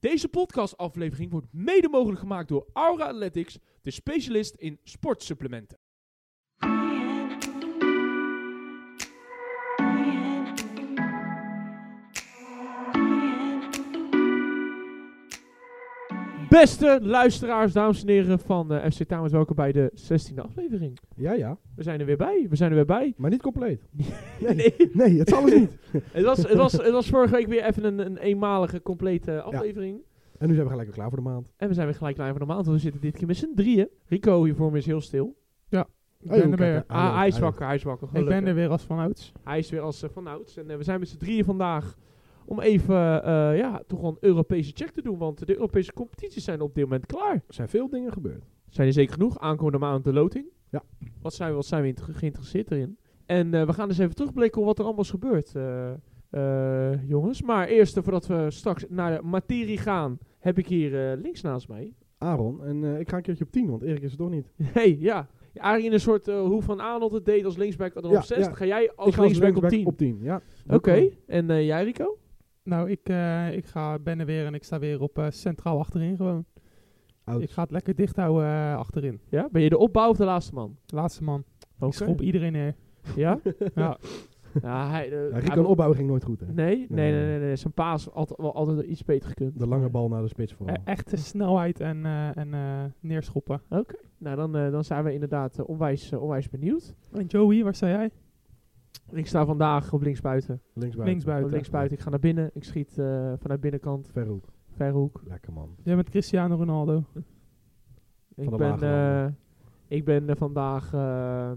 Deze podcastaflevering wordt mede mogelijk gemaakt door Aura Athletics, de specialist in sportsupplementen. Beste luisteraars, dames en heren van eh, FC Tamers, welkom bij de 16e aflevering. Ja, ja. We zijn er weer bij, we zijn er weer bij. Maar niet compleet. Nee. Nee, het is alles niet. het, was, het, was, het was vorige week weer even een, een eenmalige, complete aflevering. En nu zijn we gelijk weer klaar voor de maand. En we zijn weer gelijk klaar voor de maand, want we zitten dit keer met z'n drieën. Rico hiervoor me is heel stil. Ik Oh, joh, ben er kijk, weer. ah, leuk, Ah, hij is ah, wakker, hij is wakker. Ik ben gelukkig. er weer als vanouds. Hij is weer als eh, vanouds. En eh, we zijn met z'n drieën vandaag om even eh, ja, toch wel een Europese check te doen. Want de Europese competities zijn op dit moment klaar. leuk. Er zijn veel dingen gebeurd. Zijn er zeker genoeg. Aankomende maand de loting. Ja. Wat zijn we, wat zijn we in- geïnteresseerd erin? En eh, we gaan eens even terugblikken op wat er allemaal is gebeurd, eh, eh, jongens. Maar eerst, eh, voordat we straks naar de materie gaan, heb ik hier eh, links naast mij. Aaron, en eh, ik ga een keertje op 10, want Erik is er toch niet. hey, ja. Arie in een soort eh, hoe Van Aanholt het deed als linksback dan Ja, op 6. ja. Ga jij ik als ga als linksback op 10? Op 10, ja. Oké. En eh, jij Rico? Nou, ik, eh, ik ga, ben er weer en ik sta weer op eh, centraal achterin gewoon. Oud. Ik ga het lekker dicht houden eh, achterin. Ja? Ben je de opbouw of de laatste man? Laatste man. Oké. Ik schop iedereen neer. Ja? Ja. ja hij, eh, Ja, hij Rico wil- een opbouw ging nooit goed, hè. nee, nee, nee, Nee. nee, nee. Zijn paas had wel altijd iets beter gekund. De lange bal naar de spits Eh, vooral. E- echte snelheid en, eh, en eh, neerschoppen. Nou, dan, eh, dan zijn we inderdaad eh, onwijs, eh, onwijs benieuwd. En Joey, waar sta jij? Ik sta vandaag op linksbuiten. linksbuiten. Op Linksbuiten. linksbuiten. Ik ga naar binnen. Ik schiet eh, vanuit binnenkant, Verhoek. verhoek. Lekker man. Jij bent Cristiano Ronaldo. Ik Van de ben, lage eh, ik ben eh, vandaag eh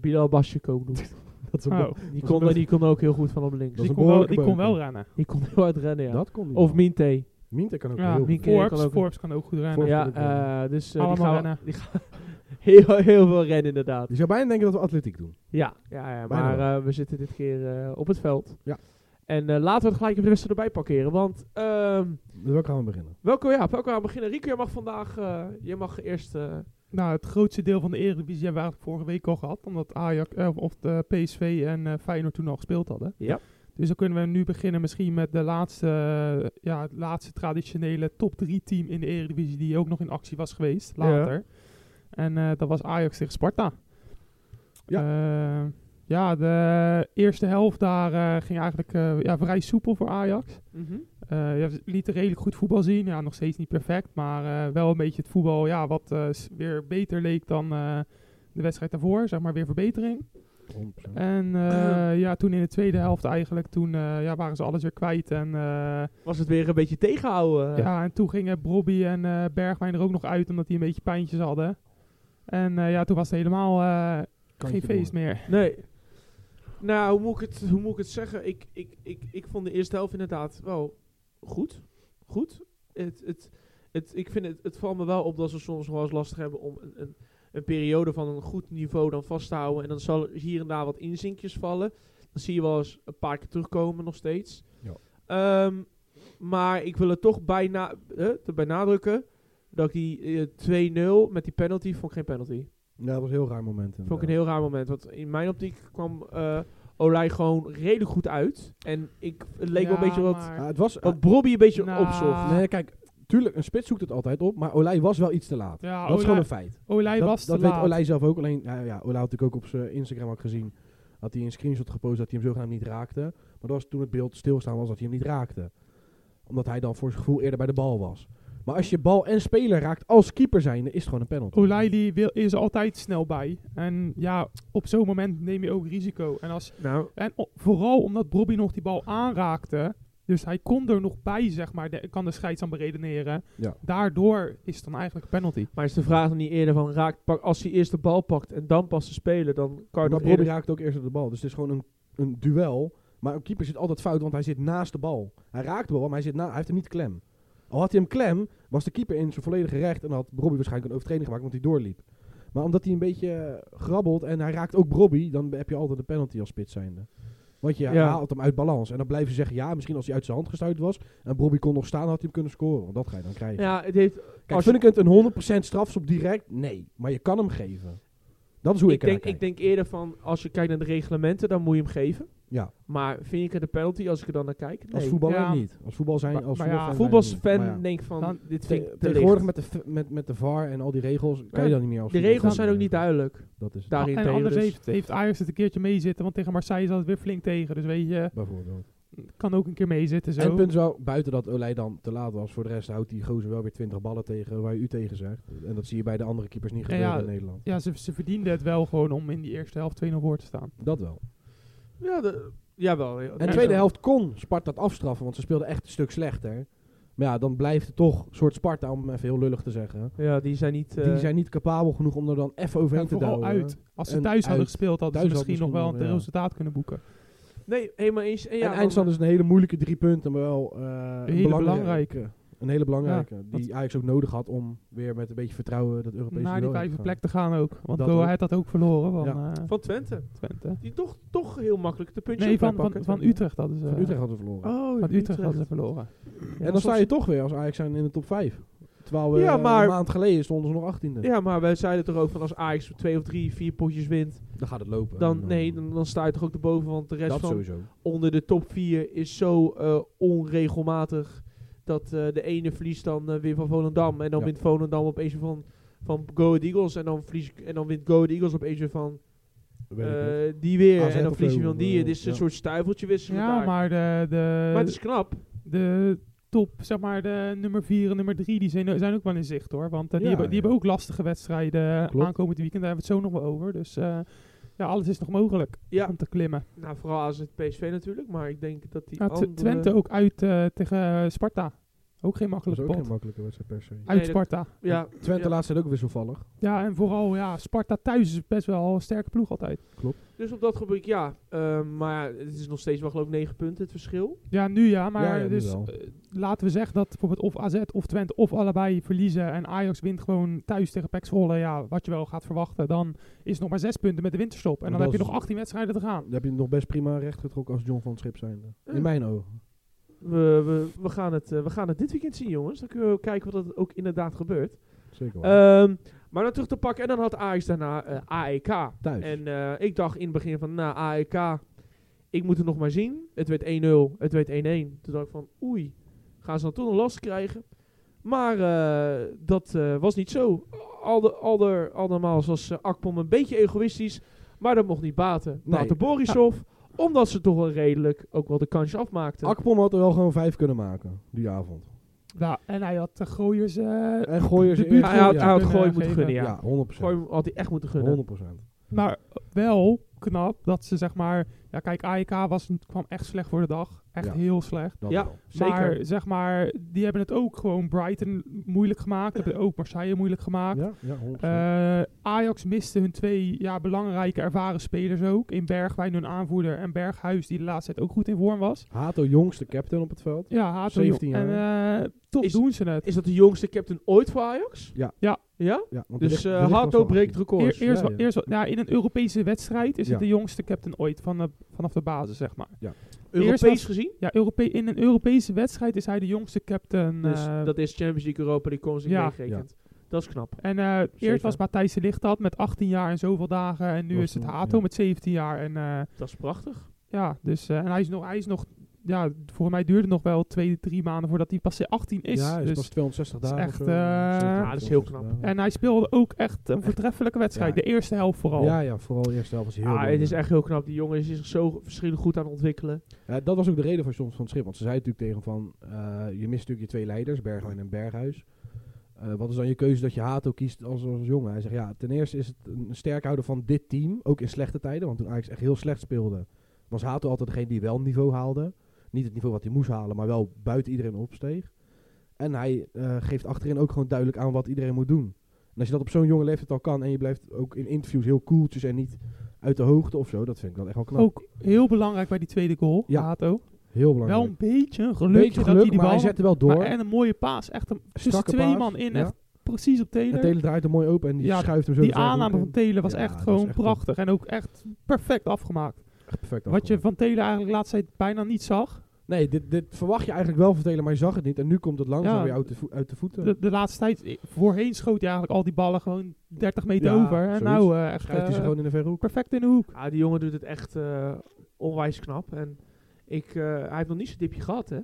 Bilal Basjeko genoemd. Dat is een Oh, bo- Die kon, er- die kon er ook heel goed van op links. Dat die is een kon, wel, behoorlijke die kon beuker. wel rennen. Die kon heel hard rennen, ja. Dat kon niet. Of Minte. Minte kan ook Ja, heel Minte. goed. Keer kan Forbes, ook- Forbes kan ook goed rennen. Forbes. Ja, kan ook rennen. eh, dus eh, die Allemaal gaan, rennen. we- die gaan heel, heel veel rennen inderdaad. Je zou bijna denken dat we atletiek doen. Ja, ja, ja Bijna maar wel. eh, we zitten dit keer eh, op het veld. Ja. En eh, laten we het gelijk even de wedstrijd erbij parkeren. Want ehm Dus waar gaan we beginnen? welke, ja, welke gaan we beginnen? Rico, jij mag vandaag eh, jij mag eerst... eh, Nou, het grootste deel van de Eredivisie hebben we eigenlijk vorige week al gehad. Omdat Ajax, eh, of de PSV en eh, Feyenoord toen al gespeeld hadden. Ja. Dus dan kunnen we nu beginnen misschien met de laatste, eh, ja, het laatste traditionele top 3 team in de Eredivisie. Die ook nog in actie was geweest, later. En eh, dat was Ajax tegen Sparta. Ja. Eh, ja, de eerste helft daar eh, ging eigenlijk eh, ja, vrij soepel voor Ajax. Eh, ja, ze lieten redelijk goed voetbal zien. Ja, nog steeds niet perfect, maar eh, wel een beetje het voetbal ja, wat eh, s- weer beter leek dan eh, de wedstrijd daarvoor. Zeg maar weer verbetering. 100%. En eh, ja, toen in de tweede helft eigenlijk, toen eh, ja, waren ze alles weer kwijt. En, eh, Was het weer een beetje tegenhouden? eh? ja, en toen gingen Brobby en eh, Bergwijn er ook nog uit, omdat die een beetje pijntjes hadden. En eh, ja, toen was het helemaal eh, Kantje geen feest meer. Nee. Nou, hoe moet ik het, hoe moet ik het zeggen? Ik, ik, ik, ik vond de eerste helft inderdaad wel goed. Goed. Het, het, het, ik vind het, het valt me wel op dat ze soms wel eens lastig hebben om een, een, een periode van een goed niveau dan vast te houden. En dan zal er hier en daar wat inzinkjes vallen. Dan zie je wel eens een paar keer terugkomen nog steeds. Ja. Ehm, maar ik wil er toch bijna, eh, te benadrukken dat ik die eh, 2-0 met die penalty vond ik geen penalty. door. Ja, dat was een heel raar moment. Vond ik een heel raar moment. Want in mijn optiek kwam eh Olij gewoon redelijk goed uit. En ik, het leek wel een Ja, beetje wat, maar- Ja, Eh, het was... wat Bobby een beetje Nou. opzocht. Ah. Nee, kijk, tuurlijk, een spits zoekt het altijd op, maar Olij was wel iets te laat. Ja, dat is gewoon Olij- een feit. Olij dat was te dat laat. weet Olij zelf ook. Alleen, ja, ja, Olij had natuurlijk ook op zijn Instagram ook gezien. Had hij een screenshot gepost dat hij hem zogenaamd niet raakte. Maar dat was toen het beeld stilstaan was dat hij hem niet raakte. Omdat hij dan voor zijn gevoel eerder bij de bal was. Maar als je bal en speler raakt als keeper zijnde, is het gewoon een penalty. Olij die wil, is er altijd snel bij. En ja, op zo'n moment neem je ook risico. En, als, Nou, en o- vooral omdat Bobby nog die bal aanraakte. Dus hij kon er nog bij, zeg maar. De, kan de scheids aan beredeneren. Ja. Daardoor is het dan eigenlijk een penalty. maar is de vraag dan niet eerder van raakt, pak, als hij eerst de bal pakt en dan pas te spelen, dan kan je Maar nog Bobby eerder... raakt ook eerst op de bal. Dus het is gewoon een, een duel. Maar een keeper zit altijd fout, want hij zit naast de bal. Hij raakt de bal, maar hij, zit na, hij heeft hem niet klem. Al had hij hem klem, was de keeper in zijn volledige recht. En had Bobby waarschijnlijk een overtreding gemaakt, want hij doorliep. Maar omdat hij een beetje eh, grabbelt en hij raakt ook Bobby, dan heb je altijd een penalty als spits zijnde. Want je Ja. haalt hem uit balans. En dan blijven ze zeggen, ja, misschien als hij uit zijn hand gestuurd was. En Bobby kon nog staan, had hij hem kunnen scoren. Want dat ga je dan krijgen. Ja, het heeft, Kijk, als vind ik het een 100% strafs op direct? Nee. Maar je kan hem geven. Dat is hoe ik, ik, denk, ernaar ik kijk. denk eerder van, als je kijkt naar de reglementen, dan moet je hem geven. Ja. Maar vind ik het een penalty als ik er dan naar kijk? Nee. Als voetballer Ja. niet. Als voetbal zijn, Maar- als maar ja, voetbalfan zijn voetbalsfan niet. Maar ja. denk ik van, Dan- dit vind Te- ik te tegenwoordig licht. met de, v- met, met de VAR en al die regels kan Ja, je dat niet meer als De voetbalfan regels zijn ook doen. niet duidelijk. Dat is het, Daarin en anders dus. heeft, heeft Ajax het een keertje meezitten, want tegen Marseille zat het weer flink tegen. Dus weet je, bijvoorbeeld. kan ook een keer meezitten zo. En het punt is wel, buiten dat Olij dan te laat was, voor de rest houdt die gozer wel weer 20 ballen tegen waar je u tegen zegt. En dat zie je bij de andere keepers niet Ja, gebeuren ja. in Nederland. Ja, ze, ze verdienden het wel gewoon om in die eerste helft 2-0 voor te staan. Dat wel. Ja, de, jawel. En de tweede helft kon Sparta het afstraffen, want ze speelden echt een stuk slechter. Maar ja, dan blijft het toch een soort Sparta, om even heel lullig te zeggen. Ja, die zijn niet... eh, Die zijn niet capabel genoeg om er dan even overheen En te vooral douwen. uit. Als ze nou, En thuis hadden uit. gespeeld, hadden Thuis ze had misschien nog wel misschien een nog, ja. resultaat kunnen boeken. Nee, helemaal eens. En, ja, en dan- eindstand is een hele moeilijke drie punten, maar wel eh, een hele belangrijke. Een hele belangrijke. dat- die Ajax ook nodig had om weer met een beetje vertrouwen dat Europese Naar die duel in te vijfde gaan. plek te gaan ook. Want Dat Go ook. Ahead had ook verloren van Ja. eh, Van Twente. Twente. Die toch, toch heel makkelijk de puntje Nee, op van, van, pakken. van Utrecht hadden ze. Van Utrecht hadden we verloren. Oh, Van Utrecht hadden ze verloren. en dan sta je toch weer als Ajax zijn in de top 5. Terwijl we Ja, eh, maar- een maand geleden stonden ze nog 18e. Ja, maar wij zeiden toch ook van als Ajax twee of drie, vier potjes wint, Dan eh, gaat het lopen. dan, nee, dan, dan sta je toch ook erboven, want de rest dat van sowieso. onder de top vier is zo eh, onregelmatig dat eh, de ene verliest dan eh, weer van Volendam en dan Ja. wint Volendam opeens weer van, van Go Ahead Eagles en dan, verlies, en dan wint Go Ahead Eagles opeens weer van Weet ik niet. eh, die weer AZ en dan of verlies je zo, weer van die. eh, Het is een ja. soort stuiveltje dus wisselen Ja, daar. maar eh, de, de, maar het is knap. de top, zeg maar, de nummer 4 en nummer 3, die zijn, zijn ook wel in zicht hoor. Want eh, die, Ja, hebben, die ja. hebben ook lastige wedstrijden Klopt. aankomend weekend. Daar hebben we het zo nog wel over. Dus eh, ja, alles is nog mogelijk Ja. om te klimmen. Nou, vooral AZ PSV natuurlijk, maar ik denk dat die Ja, Ah, Tw- andere... Twente ook uit eh, tegen eh, Sparta. Ook geen Dat is makkelijke ook geen pot. makkelijke wedstrijd per se. Uit Nee, dat- Sparta. Ja, Twente ja. laatst zijn ook wisselvallig. Ja, en vooral ja, Sparta thuis is best wel een sterke ploeg altijd. Dus op dat gebied ja. Ehm, maar het is nog steeds wel geloof ik 9 punten het verschil. Ja, nu ja, maar Ja, ja, nu dus, wel. eh, laten we zeggen dat bijvoorbeeld of AZ of Twente of allebei verliezen en Ajax wint gewoon thuis tegen PEC Zwolle, ja, wat je wel gaat verwachten, dan is het nog maar zes punten met de winterstop. En Maar dan heb dat je is- nog 18 wedstrijden te gaan. Dan heb je het nog best prima recht getrokken als John van het Schip zijn. Ja. In mijn ogen. We, we, we, gaan het, eh, we gaan het dit weekend zien, jongens. Dan kunnen we ook kijken wat er ook inderdaad gebeurt. Zeker wel. Ehm, maar dan terug te pakken. En dan had Ajax daarna eh, AEK. Thuis. En eh, ik dacht in het begin van, nou, AEK, ik moet het nog maar zien. Het werd 1-0, het werd 1-1. Toen dacht ik van, oei, gaan ze dan toch nog last krijgen? Maar eh, dat eh, was niet zo. Alder, alder, andermaal was eh, Akpom een beetje egoïstisch, maar dat mocht niet baten. Nee. Baten Borisov, omdat ze toch wel redelijk ook wel de kansje afmaakten. Akpom had er wel gewoon vijf kunnen maken. Die avond. Ja, en hij had de gooiers... eh, En gooien ze De buurt- hij had, hij had Ja. gooi moeten gunnen, ja. Ja, 100%. Gooi had hij echt moeten gunnen. 100%. maar wel knap dat ze zeg maar... Ja, kijk, AEK was, kwam echt slecht voor de dag. Echt Ja. heel slecht. Dat Ja. wel. Zeker. Maar zeg maar, die hebben het ook gewoon Brighton moeilijk gemaakt. Hebben ook Marseille moeilijk gemaakt. Ja, ja 100%. Eh, Ajax miste hun twee ja, belangrijke ervaren spelers ook. In Bergwijn hun aanvoerder en Berghuis die de laatste tijd ook goed in vorm was. Eh, Hato jongste captain op het veld. Ja, Hato. 17 En eh, toch Is- doen ze het. Is dat de jongste captain ooit voor Ajax? Ja. Ja. Ja? Ja, want Dus Dirk- eh, Dirk was Hato wel breekt Eer- records. eerst, ja, wel- ja. eerst wel- ja, in een Europese wedstrijd is Ja. het de jongste captain ooit van, eh, vanaf de basis, zeg maar. Europees Eerst was- gezien? Ja, Europe in een Europese wedstrijd is hij de jongste captain. Dus eh, dat is Champions League Europa die Conference League Ja. meegerekend. Dat is knap. en eh, eerst Zeker. was Matthijs de Licht dat met 18 jaar en zoveel dagen. En nu Was is het toen, Hato ja. met 17 jaar. En eh, Dat is prachtig. Ja, dus eh, en hij is nog, hij is nog, ja, volgens mij duurde het nog wel twee, drie maanden voordat hij pas 18 is. Ja, hij is dus. pas 260 is dagen. of echt, zo. eh, Ja, dat is heel knap. Ja, En hij speelde ook echt een voortreffelijke wedstrijd, Ja. de eerste helft vooral. ja, ja, vooral de eerste helft was heel Ja, Ah, het belangrijk. is echt heel knap. Die jongen is zich zo verschillend goed aan het ontwikkelen. Ja, Eh, dat was ook de reden van John van het Schip. Want ze zei natuurlijk tegen hem van, eh, je mist natuurlijk je twee leiders, Bergwijn en Berghuis. Eh, wat is dan je keuze dat je Hato kiest als, als jongen? Hij zegt, ja, ten eerste is het een sterkhouder van dit team, ook in slechte tijden. Want toen Ajax echt heel slecht speelde, was Hato altijd degene die wel niveau haalde. Niet het niveau wat hij moest halen, maar wel buiten iedereen opsteeg. En hij eh, geeft achterin ook gewoon duidelijk aan wat iedereen moet doen. En als je dat op zo'n jonge leeftijd al kan en je blijft ook in interviews heel koeltjes en niet uit de hoogte of zo, dat vind ik wel echt wel knap. Ook heel belangrijk bij die tweede goal, Ja, Hato. heel Wel belangrijk. een beetje een Een gelukje beetje dat geluk, hij die maar bal... hij zette wel door. maar en een mooie paas, echt een, tussen Strakke twee paas, man in, ja. echt precies op En Taylor. Telen draait hem mooi open en die Ja, schuift hem zo. Die de zijkant aanname in. van Telen was Ja, echt dat gewoon is echt prachtig en ook echt perfect afgemaakt. Echt perfect Wat je afgemaakt. van Telen eigenlijk laatst tijd bijna niet zag. Nee, dit, dit verwacht je eigenlijk wel van Telen, maar je zag het niet. En nu komt het langzaam Ja, weer uit de, vo- uit de voeten. De, de laatste tijd, eh, voorheen schoot hij eigenlijk al die ballen gewoon 30 meter Ja, over. En zoiets. nou eh, echt Schrijft hij ze eh, gewoon in de verre hoek. perfect in de hoek. Ja, Ah, die jongen doet het echt eh, onwijs knap. En ik, eh, hij heeft nog niet zijn dipje gehad, hè?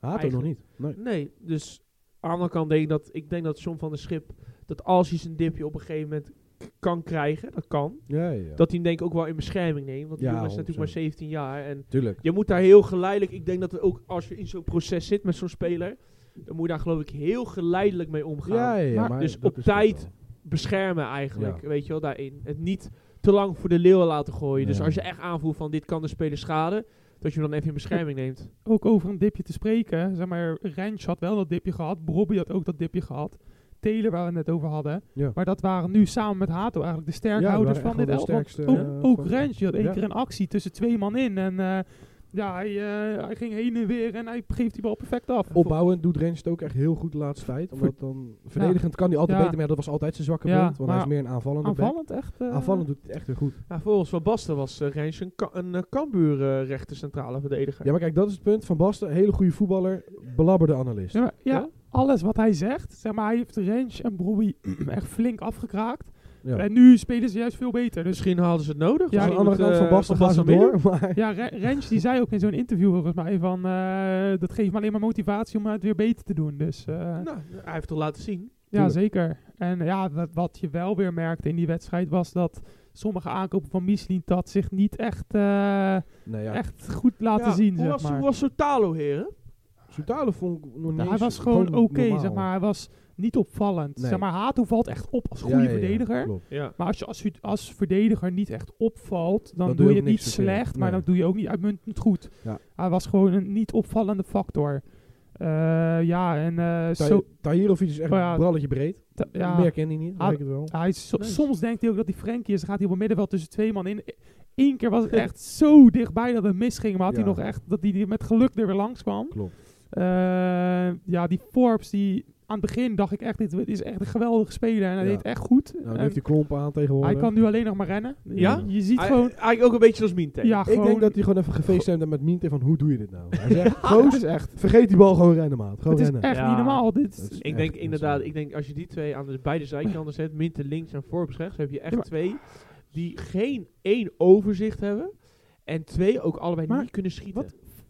Haat ook nog niet. Nee. Nee, dus aan de andere kant denk ik dat, ik denk dat John van der Schip, dat als hij zijn dipje op een gegeven moment k- kan krijgen, dat kan, Ja, ja, ja. dat hij hem denk ik ook wel in bescherming neemt. Want die Ja, jongen is natuurlijk maar 17 jaar en Tuurlijk. je moet daar heel geleidelijk, ik denk dat er ook als je in zo'n proces zit met zo'n speler, dan moet je daar geloof ik heel geleidelijk mee omgaan. Ja, ja, ja, Maar maar dus dat op is het tijd wel. Beschermen eigenlijk, Ja. weet je wel, daarin. Het niet te lang voor de leeuwen laten gooien. Dus Nee. als je echt aanvoelt van dit kan de speler schaden, dat je hem dan even in bescherming neemt. Ook over een dipje te spreken. Zeg maar, Rens had wel dat dipje gehad. Bobby had ook dat dipje gehad. Taylor, waar we het net over hadden. Ja. Maar dat waren nu samen met Hato eigenlijk de Ja, die sterkhouders waren van echt dit wel de elftal. sterkste, Ook, eh, ook van- Rens, die had één Ja. keer een actie tussen twee man in. En eh, ja, hij, eh, hij ging heen en weer en hij geeft die bal perfect af. Opbouwend doet Rens het ook echt heel goed de laatste tijd. Omdat dan verdedigend kan hij altijd Ja. beter, maar ja, dat was altijd zijn zwakke Ja, punt. Want hij is maar meer een aanvallende back. Aanvallend echt. eh, Aanvallend doet hij echt weer goed. Ja, Nou, volgens Van Basten was eh Rens een, ka- een eh, Cambuur eh, rechter centrale verdediger. Ja, maar kijk, dat is het punt. Van Basten, hele goede voetballer, belabberde analist. Ja, maar- ja, Ja? alles wat hij zegt, zeg maar, hij heeft Range en Bobby echt flink afgekraakt. Ja. En nu spelen ze juist veel beter. Dus Misschien hadden ze het nodig. Ja, Aan de Misschien andere moet, kant, eh, Van Basten gaat ze meer door. doen. Maar ja, Re- Range die zei ook in zo'n interview volgens mij van, eh, dat geeft me alleen maar motivatie om het weer beter te doen. Dus eh, Nou, hij heeft het laten zien. ja, tuurlijk. zeker. En ja, wat, wat je wel weer merkte in die wedstrijd was dat sommige aankopen van Michelin dat zich niet echt, eh, nee, ja. echt goed laten Ja, zien, hoe zeg was, maar. Hoe was Sotalo, heren? Soutalo vond ik nog niet Ja, hij eens was gewoon oké, normaal. zeg maar. Hij was niet opvallend. Nee. Zeg maar, Hato valt echt op als Ja, goede ja, ja, verdediger. klopt. Ja. Maar als je als, als verdediger niet echt opvalt, dan, Dan doe je het ook niet niks verkeerd. slecht, maar Nee. dan doe je ook niet uitmuntend goed. Ja. Hij was gewoon een niet opvallende factor. Eh, ja, en eh, Ta- zo, Tahirovic is echt Oh een ja. bralletje breed. ta- ja, Meer ken hij niet, Ah, dat weet ik wel. hij is so- Nice. soms denkt hij ook dat hij Frenkie is. Dan gaat hij op het middenveld tussen twee man in. Eén keer was het echt zo dichtbij dat het misging, maar had hij Ja. nog echt dat hij er met geluk er weer langs kwam. Klopt. Eh, ja, die Forbes, die aan het begin dacht ik echt, dit is echt een geweldige speler en hij Ja. deed echt goed. Nou, dan En heeft hij klompen aan tegenwoordig. hij kan nu alleen nog maar rennen. Ja? Je, je ziet Hij- gewoon Eigenlijk ook een beetje als Minte. Ja, ik gewoon, denk dat hij gewoon even gefeest met Minte van hoe doe je dit nou? Hij zegt, goos, echt. vergeet die bal gewoon rennen maat. Gewoon Het is rennen. Dus- echt Ja. niet normaal. Dit Dat is Ik echt denk inderdaad, insane. ik denk als je die twee aan de beide zijkanten zet, Minte links en Forbes rechts, heb je echt Ja, maar- twee die geen één overzicht hebben. En twee ook allebei Maar niet kunnen schieten.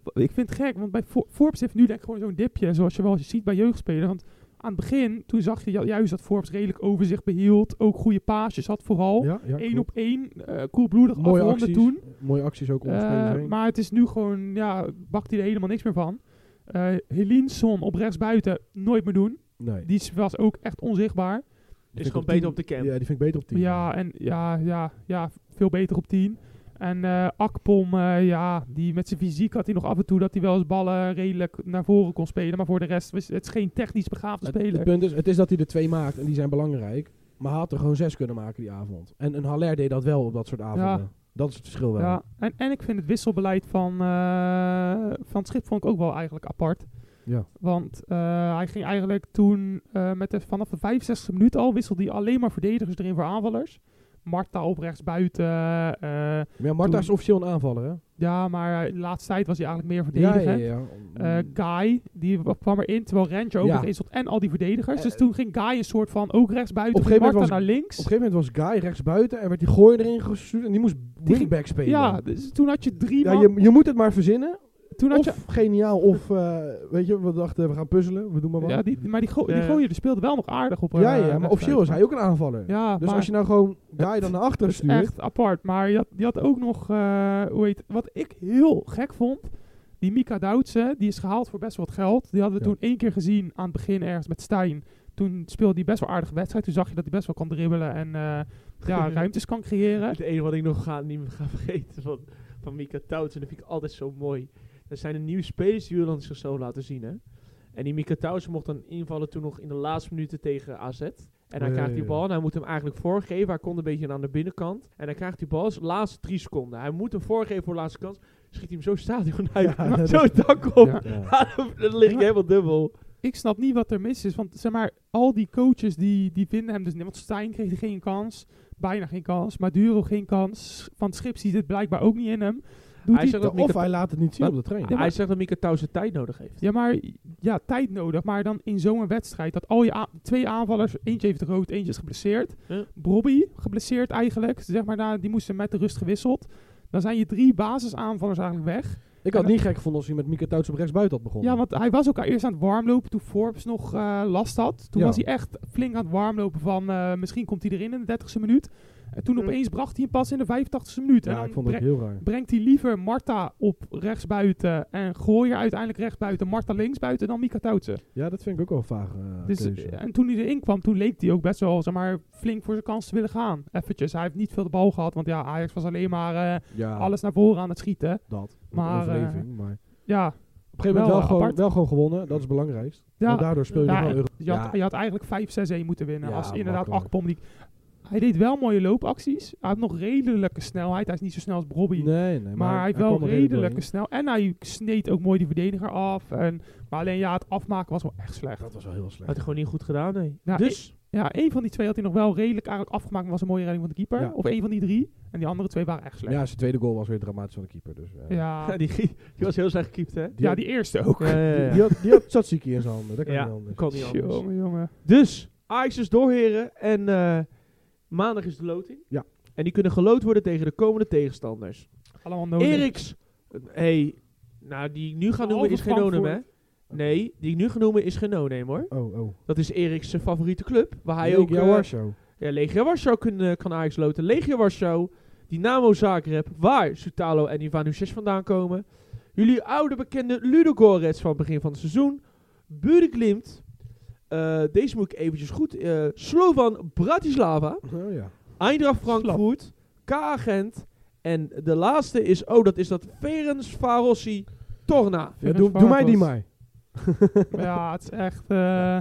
wat- ik vind het gek, want bij For- Forbes heeft nu denk ik gewoon zo'n dipje, zoals je wel eens ziet bij jeugdspelers. Want aan het begin, toen zag je ju- juist dat Forbes redelijk overzicht behield, ook goede paasjes had vooral. ja, ja, Eén klopt. op één, eh koelbloedig Mooie afronden acties. toen. Mooie acties ook om de Eh, spelers heen. maar het is nu gewoon, ja, bakt hij er helemaal niks meer van. Eh Helinson op rechtsbuiten, nooit meer doen. Nee. Die was ook echt onzichtbaar. Die is vind ik gewoon beter 10. op de camp. Ja, die vind ik beter op 10. Ja, en ja, ja, ja, veel beter op 10. En eh Akpom, eh, ja, die met zijn fysiek had hij nog af en toe dat hij wel eens ballen redelijk naar voren kon spelen. Maar voor de rest, was, het is geen technisch begaafde Het, speler. het punt is, het is dat hij er twee maakt en die zijn belangrijk. Maar hij had er gewoon zes kunnen maken die avond. En een Haller deed dat wel op dat soort avonden. Dat is het verschil wel. ja, en, en ik vind het wisselbeleid van, eh, van het schip vond ik ook wel eigenlijk apart. Ja. Want eh, hij ging eigenlijk toen eh, met de, vanaf de 65e minuut al wisselde hij alleen maar verdedigers erin voor aanvallers. Marta op rechts buiten. eh, Maar ja, Marta Toen- is officieel een aanvaller, hè? ja, maar de laatste tijd was hij eigenlijk meer Ja, verdedigend. ja, ja. eh Guy, die w- kwam erin, terwijl Rancho ook Hmm. Ja. nog in zat en al die verdedigers. Eh, dus toen ging Guy een soort van ook rechts buiten, Op een gegeven Marta moment naar links. Op een gegeven moment was Guy rechts buiten en werd die gooi erin gestuurd en die moest wingback spelen. ja, dus toen had je drie Ja, man. je, je moet het maar verzinnen. toen had Of je, geniaal, of eh, weet je, we dachten we gaan puzzelen, we doen maar wat. ja Ja, die, maar die, go die Ja. gooier die speelde wel nog aardig op. eh, ja, maar wedstrijd. officieel is hij ook een aanvaller. Ja, dus maar als je nou gewoon Guy dan naar achteren dat is stuurt, echt apart. Maar je had, die had ook nog, eh, hoe heet, wat ik heel gek vond. Die Mika Doutsen, die is gehaald voor best wel wat geld. Die hadden we Ja. toen één keer gezien aan het begin ergens met Stijn. Toen speelde hij best wel aardige wedstrijd. Toen zag je dat hij best wel kan dribbelen en eh, ja, ruimtes kan creëren. Het enige wat ik nog ga, niet meer ga vergeten van, van Mika Tauts, en dat vind ik altijd zo mooi. Er zijn de nieuwe spelers die Julian zichzelf laten zien, hè. En die Mika Tauts mocht dan invallen toen nog in de laatste minuten tegen AZ. En hij Ja, krijgt die ja. bal en hij moet hem eigenlijk voorgeven. Hij komt een beetje aan de binnenkant. En hij krijgt die bal als laatste drie seconden. Hij moet hem voorgeven voor de laatste kans. Schiet hij hem zo stadion uit. Ja, Hij maakt dat zo is- dank op. Ja. ja. Ja, dan lig ik helemaal dubbel. ik snap niet wat er mis is. Want zeg maar, al die coaches die, die vinden hem dus niet. Want Stijn kreeg geen kans. Bijna geen kans. Maduro geen kans. Van het Schip ziet het blijkbaar ook niet in hem. doet Hij Hij hij... zegt dat of Mika- hij laat het niet zien Maar- op de training. Ja, maar- Hij zegt dat Mika Tau zijn tijd nodig heeft. Ja, maar ja, tijd nodig. Maar dan in zo'n wedstrijd dat al je a- twee aanvallers, eentje heeft rood, eentje is geblesseerd. Ja. Bobby geblesseerd eigenlijk. Zeg maar, nou, die moesten met de rust gewisseld. Dan zijn je drie basisaanvallers eigenlijk weg. ik had het niet gek gevonden als hij met Mika Touts op rechtsbuiten had begonnen. Ja, want hij was ook al eerst aan het warmlopen toen Forbes nog eh, last had. Toen Ja. was hij echt flink aan het warmlopen van eh, misschien komt hij erin in de 30ste minuut. En toen Ja. opeens bracht hij een pas in de 85ste minuut. en Mm. ja dan ik vond het bre- ook heel raar. brengt hij liever Marta op rechtsbuiten en Gooier uiteindelijk rechtsbuiten, Marta linksbuiten dan Mika Toutsen. Ja, dat vind ik ook wel vaag. eh, Dus, keuze. eh, en toen hij erin kwam, toen leek hij ook best wel zeg maar, flink voor zijn kans te willen gaan. Eventjes, hij heeft niet veel de bal gehad, want ja, Ajax was alleen maar eh, ja, alles naar voren aan het schieten. dat. maar, eh, Maar, maar Ja, op een gegeven moment wel, wel, eh, gewoon, apart. wel gewoon gewonnen. Dat is het belangrijkste. ja, Want daardoor speel je ja, nog wel en Euro- je, had, Ja. je had eigenlijk 5-6-1 moeten winnen. Ja, als inderdaad makkelijk. Akpom die... Hij deed wel mooie loopacties. Hij had nog redelijke snelheid. Hij is niet zo snel als Bobby. Nee, nee. Maar, Maar hij heeft kwam wel er redelijk redelijke doorheen. snel. En hij sneed ook mooi die verdediger af. En, maar alleen ja, het afmaken was wel echt slecht. Dat was wel heel slecht. Had hij gewoon niet goed gedaan, nee. Ja, dus, Ja, één van die twee had hij nog wel redelijk eigenlijk afgemaakt. maar was een mooie redding van de keeper. Ja. Of één van die drie. En die andere twee waren echt Maar slecht. ja, zijn tweede goal was weer dramatisch van de keeper. Dus, eh, Ja, ja, die, die, die was heel slecht gekiept, hè? eerste ook. Ja, ja, ja. Die had, die had Tsatsiki in zijn handen. Dat kan Ja, niet anders. kan niet anders. Jongen, jongen. Dus, Ajax is doorheren en eh, maandag is de loting. Ja. En die kunnen geloot worden tegen de komende tegenstanders. Allemaal Oh, nodig. Eriks, hey, nou die ik nu ga Een noemen is halve geen no-name, hè? Frankfurt. Nee, die ik nu ga noemen is geen no-name, hoor. Oh, oh. Dat is Eriks zijn favoriete club, waar hij Leek ook... jouw eh, Warschau. ja, Legia Warschau kun, eh, kan Ajax loten. Legia Warschau, Dynamo Zagreb, waar Sutalo en Ivan Huches vandaan komen. Jullie oude bekende Ludogorets van het begin van het seizoen. Bureglimt. Eh deze moet ik eventjes goed... eh, Slovan Bratislava. Oh ja. Eindracht Frankfurt. KA Gent. En de laatste is... Oh, dat is dat Ferenc Varossi Torna. ja doe, doe mij die maar. ja, het is echt... eh,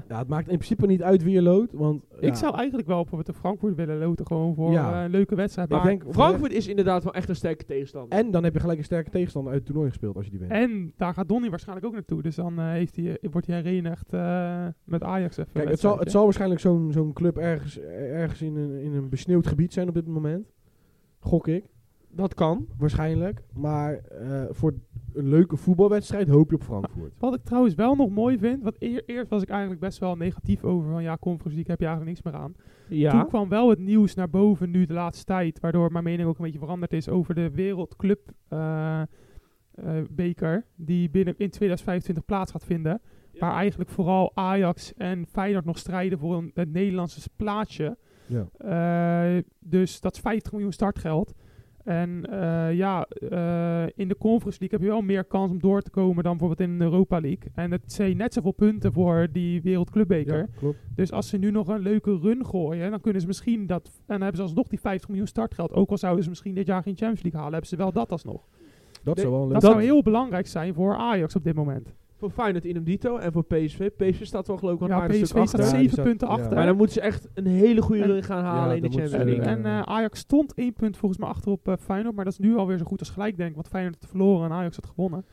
Ja, het maakt in principe niet uit wie je loodt. Want ja, Ik zou eigenlijk wel op de Frankfurt willen loten. Gewoon voor Ja. eh, een leuke wedstrijd. ik Maar denk, Frankfurt is inderdaad wel echt een sterke tegenstander. En dan heb je gelijk een sterke tegenstander uit het toernooi gespeeld als je die wint. En daar gaat Donny waarschijnlijk ook naartoe. Dus dan eh, heeft hij, wordt hij herenigd eh, met Ajax even. Kijk, een het zal, het wedstrijdje. zal waarschijnlijk zo'n zo'n club ergens, eh, ergens in, een, in een besneeuwd gebied zijn op dit moment. Gok ik. dat kan. Waarschijnlijk. Maar eh, voor een leuke voetbalwedstrijd hoop je op Frankfurt. Wat ik trouwens wel nog mooi vind. Want eer- eerst was ik eigenlijk best wel negatief over. Van ja, Conference League heb je eigenlijk niks meer aan. Ja. Toen kwam wel het nieuws naar boven nu de laatste tijd, waardoor mijn mening ook een beetje veranderd is over de wereldclub eh, eh, beker die binnen in 2025 plaats gaat vinden. Ja. Waar eigenlijk vooral Ajax en Feyenoord nog strijden voor een, het Nederlandse plaatsje. Ja. Eh, dus dat is 50 miljoen startgeld. En eh, ja, eh, in de Conference League heb je wel meer kans om door te komen dan bijvoorbeeld in de Europa League. En het zijn net zoveel punten voor die wereldclubbeker. Ja, klopt. Dus als ze nu nog een leuke run gooien, dan kunnen ze misschien dat. En dan hebben ze alsnog die 50 miljoen startgeld. Ook al zouden ze misschien dit jaar geen Champions League halen, hebben ze wel dat alsnog. Dat zou wel een Dat, leuke- zou heel belangrijk zijn voor Ajax op dit moment. Voor Feyenoord in dito en voor PSV. PSV staat wel geloof ik wel een Ja, aardig PSV stuk achter. staat Ja, 7 die staat- punten ja. achter. Maar dan moeten ze echt een hele goede En- run gaan halen Ja, in de dan moeten Champions ze- League. en eh, Ajax stond 1 punt volgens mij achter op eh, Feyenoord. Maar dat is nu alweer zo goed als gelijk, denk ik. Want Feyenoord had verloren en Ajax had gewonnen.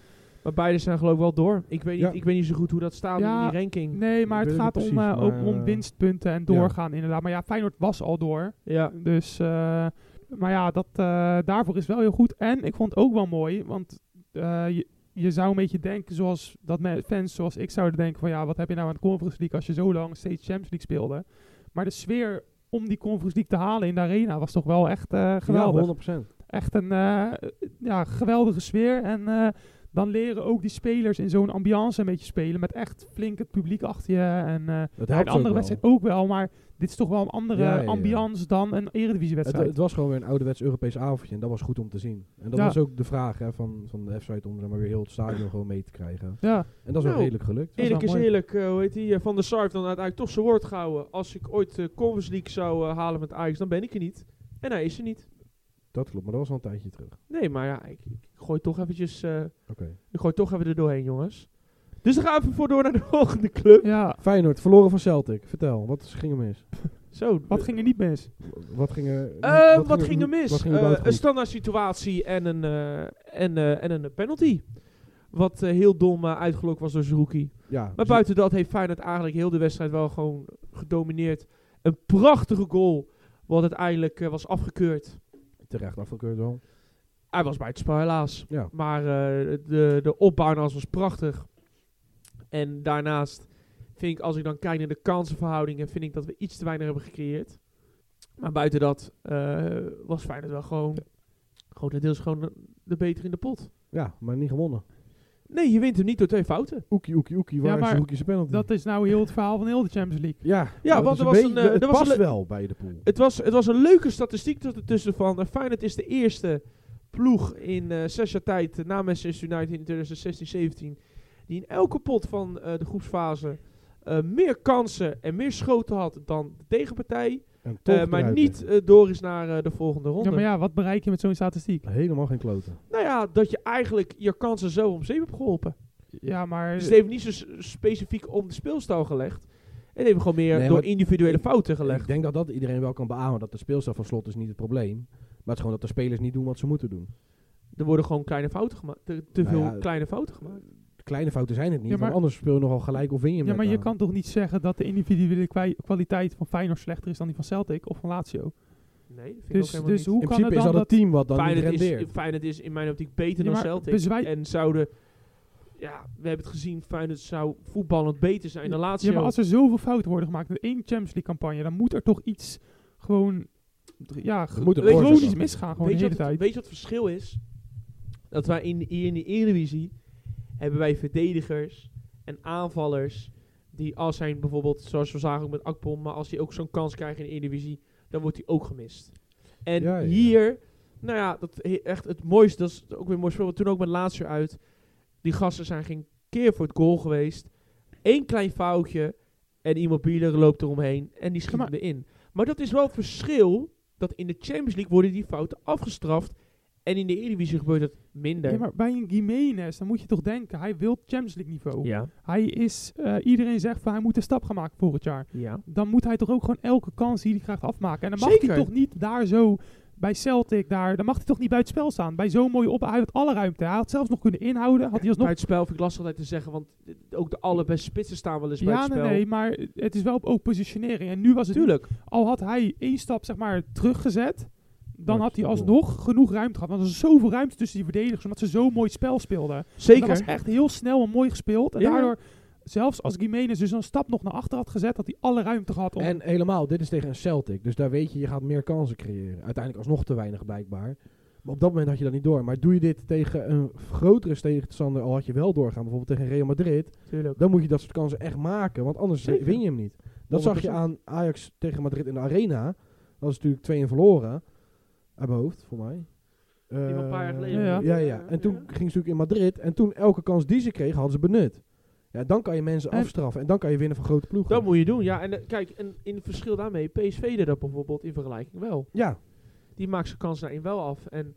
maar beide zijn geloof ik wel door. Ik weet, niet, Ja. ik weet niet zo goed hoe dat staat Ja, in die ranking. Nee, maar Ik het weet gaat het niet om, eh, precies, ook maar, om eh, winstpunten en doorgaan inderdaad. Maar ja, Feyenoord was al door. Ja. Dus, eh, maar ja, dat, eh, daarvoor is wel heel goed. En ik vond het ook wel mooi, want eh, je, je zou een beetje denken zoals dat me- fans zoals ik zouden denken van ja, wat heb je nou aan de Conference League als je zo lang steeds Champions League speelde. Maar de sfeer om die Conference League te halen in de arena was toch wel echt eh, geweldig. Ja, 100%. echt een eh, ja, geweldige sfeer en... eh, dan leren ook die spelers in zo'n ambiance een beetje spelen. Met echt flink het publiek achter je. En eh, Dat ja, helpt een andere ook wel. wedstrijd ook wel, maar dit is toch wel een andere Ja, ja, ja. ambiance dan een Het, eredivisiewedstrijd. het was gewoon weer een ouderwets Europees avondje en dat was goed om te zien. En dat Ja. was ook de vraag hè, van, van de F-site om zeg maar weer heel het stadion gewoon mee te krijgen. ja, En dat is wel Nou, redelijk gelukt. is Eerlijk wel is mooi. eerlijk, eh, hoe heet die? eh, Van der Sar heeft dan uiteindelijk toch zijn woord gehouden. Als ik ooit de Conference League zou eh, halen met Ajax, dan ben ik er niet. En hij is er niet. Dat klopt, maar dat was al een tijdje terug. Nee, maar ja, ik, ik gooi toch eventjes... eh, Oké. ik gooi toch even er doorheen, jongens. Dus dan gaan we even voor door naar de volgende club. ja, Feyenoord, verloren van Celtic. Vertel, wat is- ging er mis? Zo, wat ging er niet mis? Wat ging er, Eh, wat ging er mis? Wat ging er Eh, buiten een goed? standaard situatie en een, eh, en, eh, en een penalty. Wat eh, heel dom eh, uitgelokt was door Zerouki. Ja, Maar Ze- buiten dat heeft Feyenoord eigenlijk heel de wedstrijd wel gewoon gedomineerd. Een prachtige goal, wat uiteindelijk eh, was afgekeurd. terecht afgekeurd wel. Hij was bij het spel helaas. Ja. Maar eh, de, de opbouw naast was prachtig. En daarnaast vind ik, als ik dan kijk naar de kansenverhoudingen, vind ik dat we iets te weinig hebben gecreëerd. Maar buiten dat eh, was Feyenoord wel gewoon, grotendeels gewoon de, de beter in de pot. Ja, maar niet gewonnen. Nee, je wint hem niet door twee fouten. Oekie, oekie, oekie, waar Ja, is maar de hoekjes penalty? Dat is nou heel het verhaal van heel de Champions League. ja, Ja, dat want is er was een, beetje- eh, het er was past een le- wel bij de pool. Het was, het was een leuke statistiek tot- ertussen van. Eh, Feyenoord is de eerste ploeg in eh zes jaar tijd eh, na Manchester United in 2016-17 die in elke pot van eh, de groepsfase eh, meer kansen en meer schoten had dan de tegenpartij, En eh, toch maar eruit niet eh, door is naar eh, de volgende ronde. Ja, maar ja, wat bereik je met zo'n statistiek? liggen. Helemaal geen kloten. Nou ja, dat je eigenlijk je kansen zo om zeep hebt geholpen. Eh, Ja, maar... Dus het heeft niet zo s- specifiek om de speelstijl gelegd. Het heeft gewoon meer Nee, door maar- individuele fouten Ik gelegd. denk dat dat iedereen wel kan beamen. Dat de speelstijl van slot is niet het probleem. Maar het is gewoon dat de spelers niet doen wat ze moeten doen. Er worden gewoon kleine fouten gemaakt. Te, te Nou veel ja, kleine fouten gemaakt. Kleine fouten zijn het niet. Ja, maar- want anders speel je nogal gelijk of win je eh, hem Ja, net maar je aan. kan toch niet zeggen dat de individuele kwa- kwaliteit van Feyenoord slechter is dan die van Celtic of van Lazio. Nee, dat vind ik ook Dus, helemaal dus niet. hoe In kan het principe is dan dat het dat... team wat dan niet Feyenoord is, rendeert. Feyenoord is in mijn optiek beter Ja, dan maar dus Celtic. bezwij- En zouden... Ja, we hebben het gezien. Feyenoord zou voetballend beter zijn dan laatste Ja, maar als er zoveel fouten worden gemaakt in één Champions League campagne, dan moet er toch iets gewoon... Ja, Er moet een Weet je- oorzaak chronisch achter misgaan gewoon weet, de je hele wat het, tijd. weet je wat het verschil is? Dat wij in, hier in de Eredivisie hebben wij verdedigers en aanvallers die als zijn bijvoorbeeld, zoals we zagen ook met Akpom, maar als hij ook zo'n kans krijgt in de Eredivisie, dan wordt hij ook gemist. En Ja, ja, ja. hier, nou ja, dat he- echt het mooiste, dat is ook weer een mooi speel, want toen ook met laatst uit, die gasten zijn geen keer voor het goal geweest. Eén klein foutje en iemand bieler loopt eromheen en die schiet Ja, hem maar- erin. Maar dat is wel het verschil dat in de Champions League worden die fouten afgestraft. En in de Eredivisie gebeurt dat minder. Ja, maar bij een Gimenez, dan moet je toch denken, hij wil Champions League niveau. ja. Hij is, eh, iedereen zegt van hij moet een stap gaan maken volgend jaar. ja. Dan moet hij toch ook gewoon elke kans die hij krijgt afmaken. En dan mag Zeker. hij toch niet daar zo bij Celtic, daar, dan mag hij toch niet bij het spel staan. Bij zo'n mooie op, hij had alle ruimte. Hij had zelfs nog kunnen inhouden, had hij alsnog... Bij het spel vind ik lastig altijd te zeggen, want eh, ook de allerbeste spitsen staan wel eens bij Ja, het nee, spel. nee, maar het is wel op ook positionering. En nu was het niet- Tuurlijk. al had hij één stap zeg maar teruggezet, dan Ja, had hij dat is alsnog genoeg ruimte gehad. Want er was zoveel ruimte tussen die verdedigers, omdat ze zo'n mooi spel speelden. Zeker. Dat was echt heel snel en mooi gespeeld. En Ja. daardoor, zelfs als Gimenez dus een stap nog naar achter had gezet, had hij alle ruimte gehad om... En helemaal, dit is tegen een Celtic. Dus daar weet je, je gaat meer kansen creëren. Uiteindelijk alsnog te weinig blijkbaar. Maar op dat moment had je dat niet door. Maar doe je dit tegen een grotere tegenstander, al had je wel doorgaan, bijvoorbeeld tegen Real Madrid, Tuurlijk. dan moet je dat soort kansen echt maken. Want anders Zeker. win je hem niet. Dat zag je 100%. aan Ajax tegen Madrid in de Arena. Dat is natuurlijk 2-1 verloren. Uit mijn hoofd, voor mij. Eh, Die van een paar jaar geleden. Ja, Ja, ja. En toen ging ze natuurlijk in Madrid. En toen elke kans die ze kregen, hadden ze benut. Ja, dan kan je mensen En- afstraffen. En dan kan je winnen van grote ploegen. Dat moet je doen, ja. En eh, kijk, en in het verschil daarmee, PSV deed dat bijvoorbeeld in vergelijking wel. ja, Die maakt zijn kans daarin wel af. En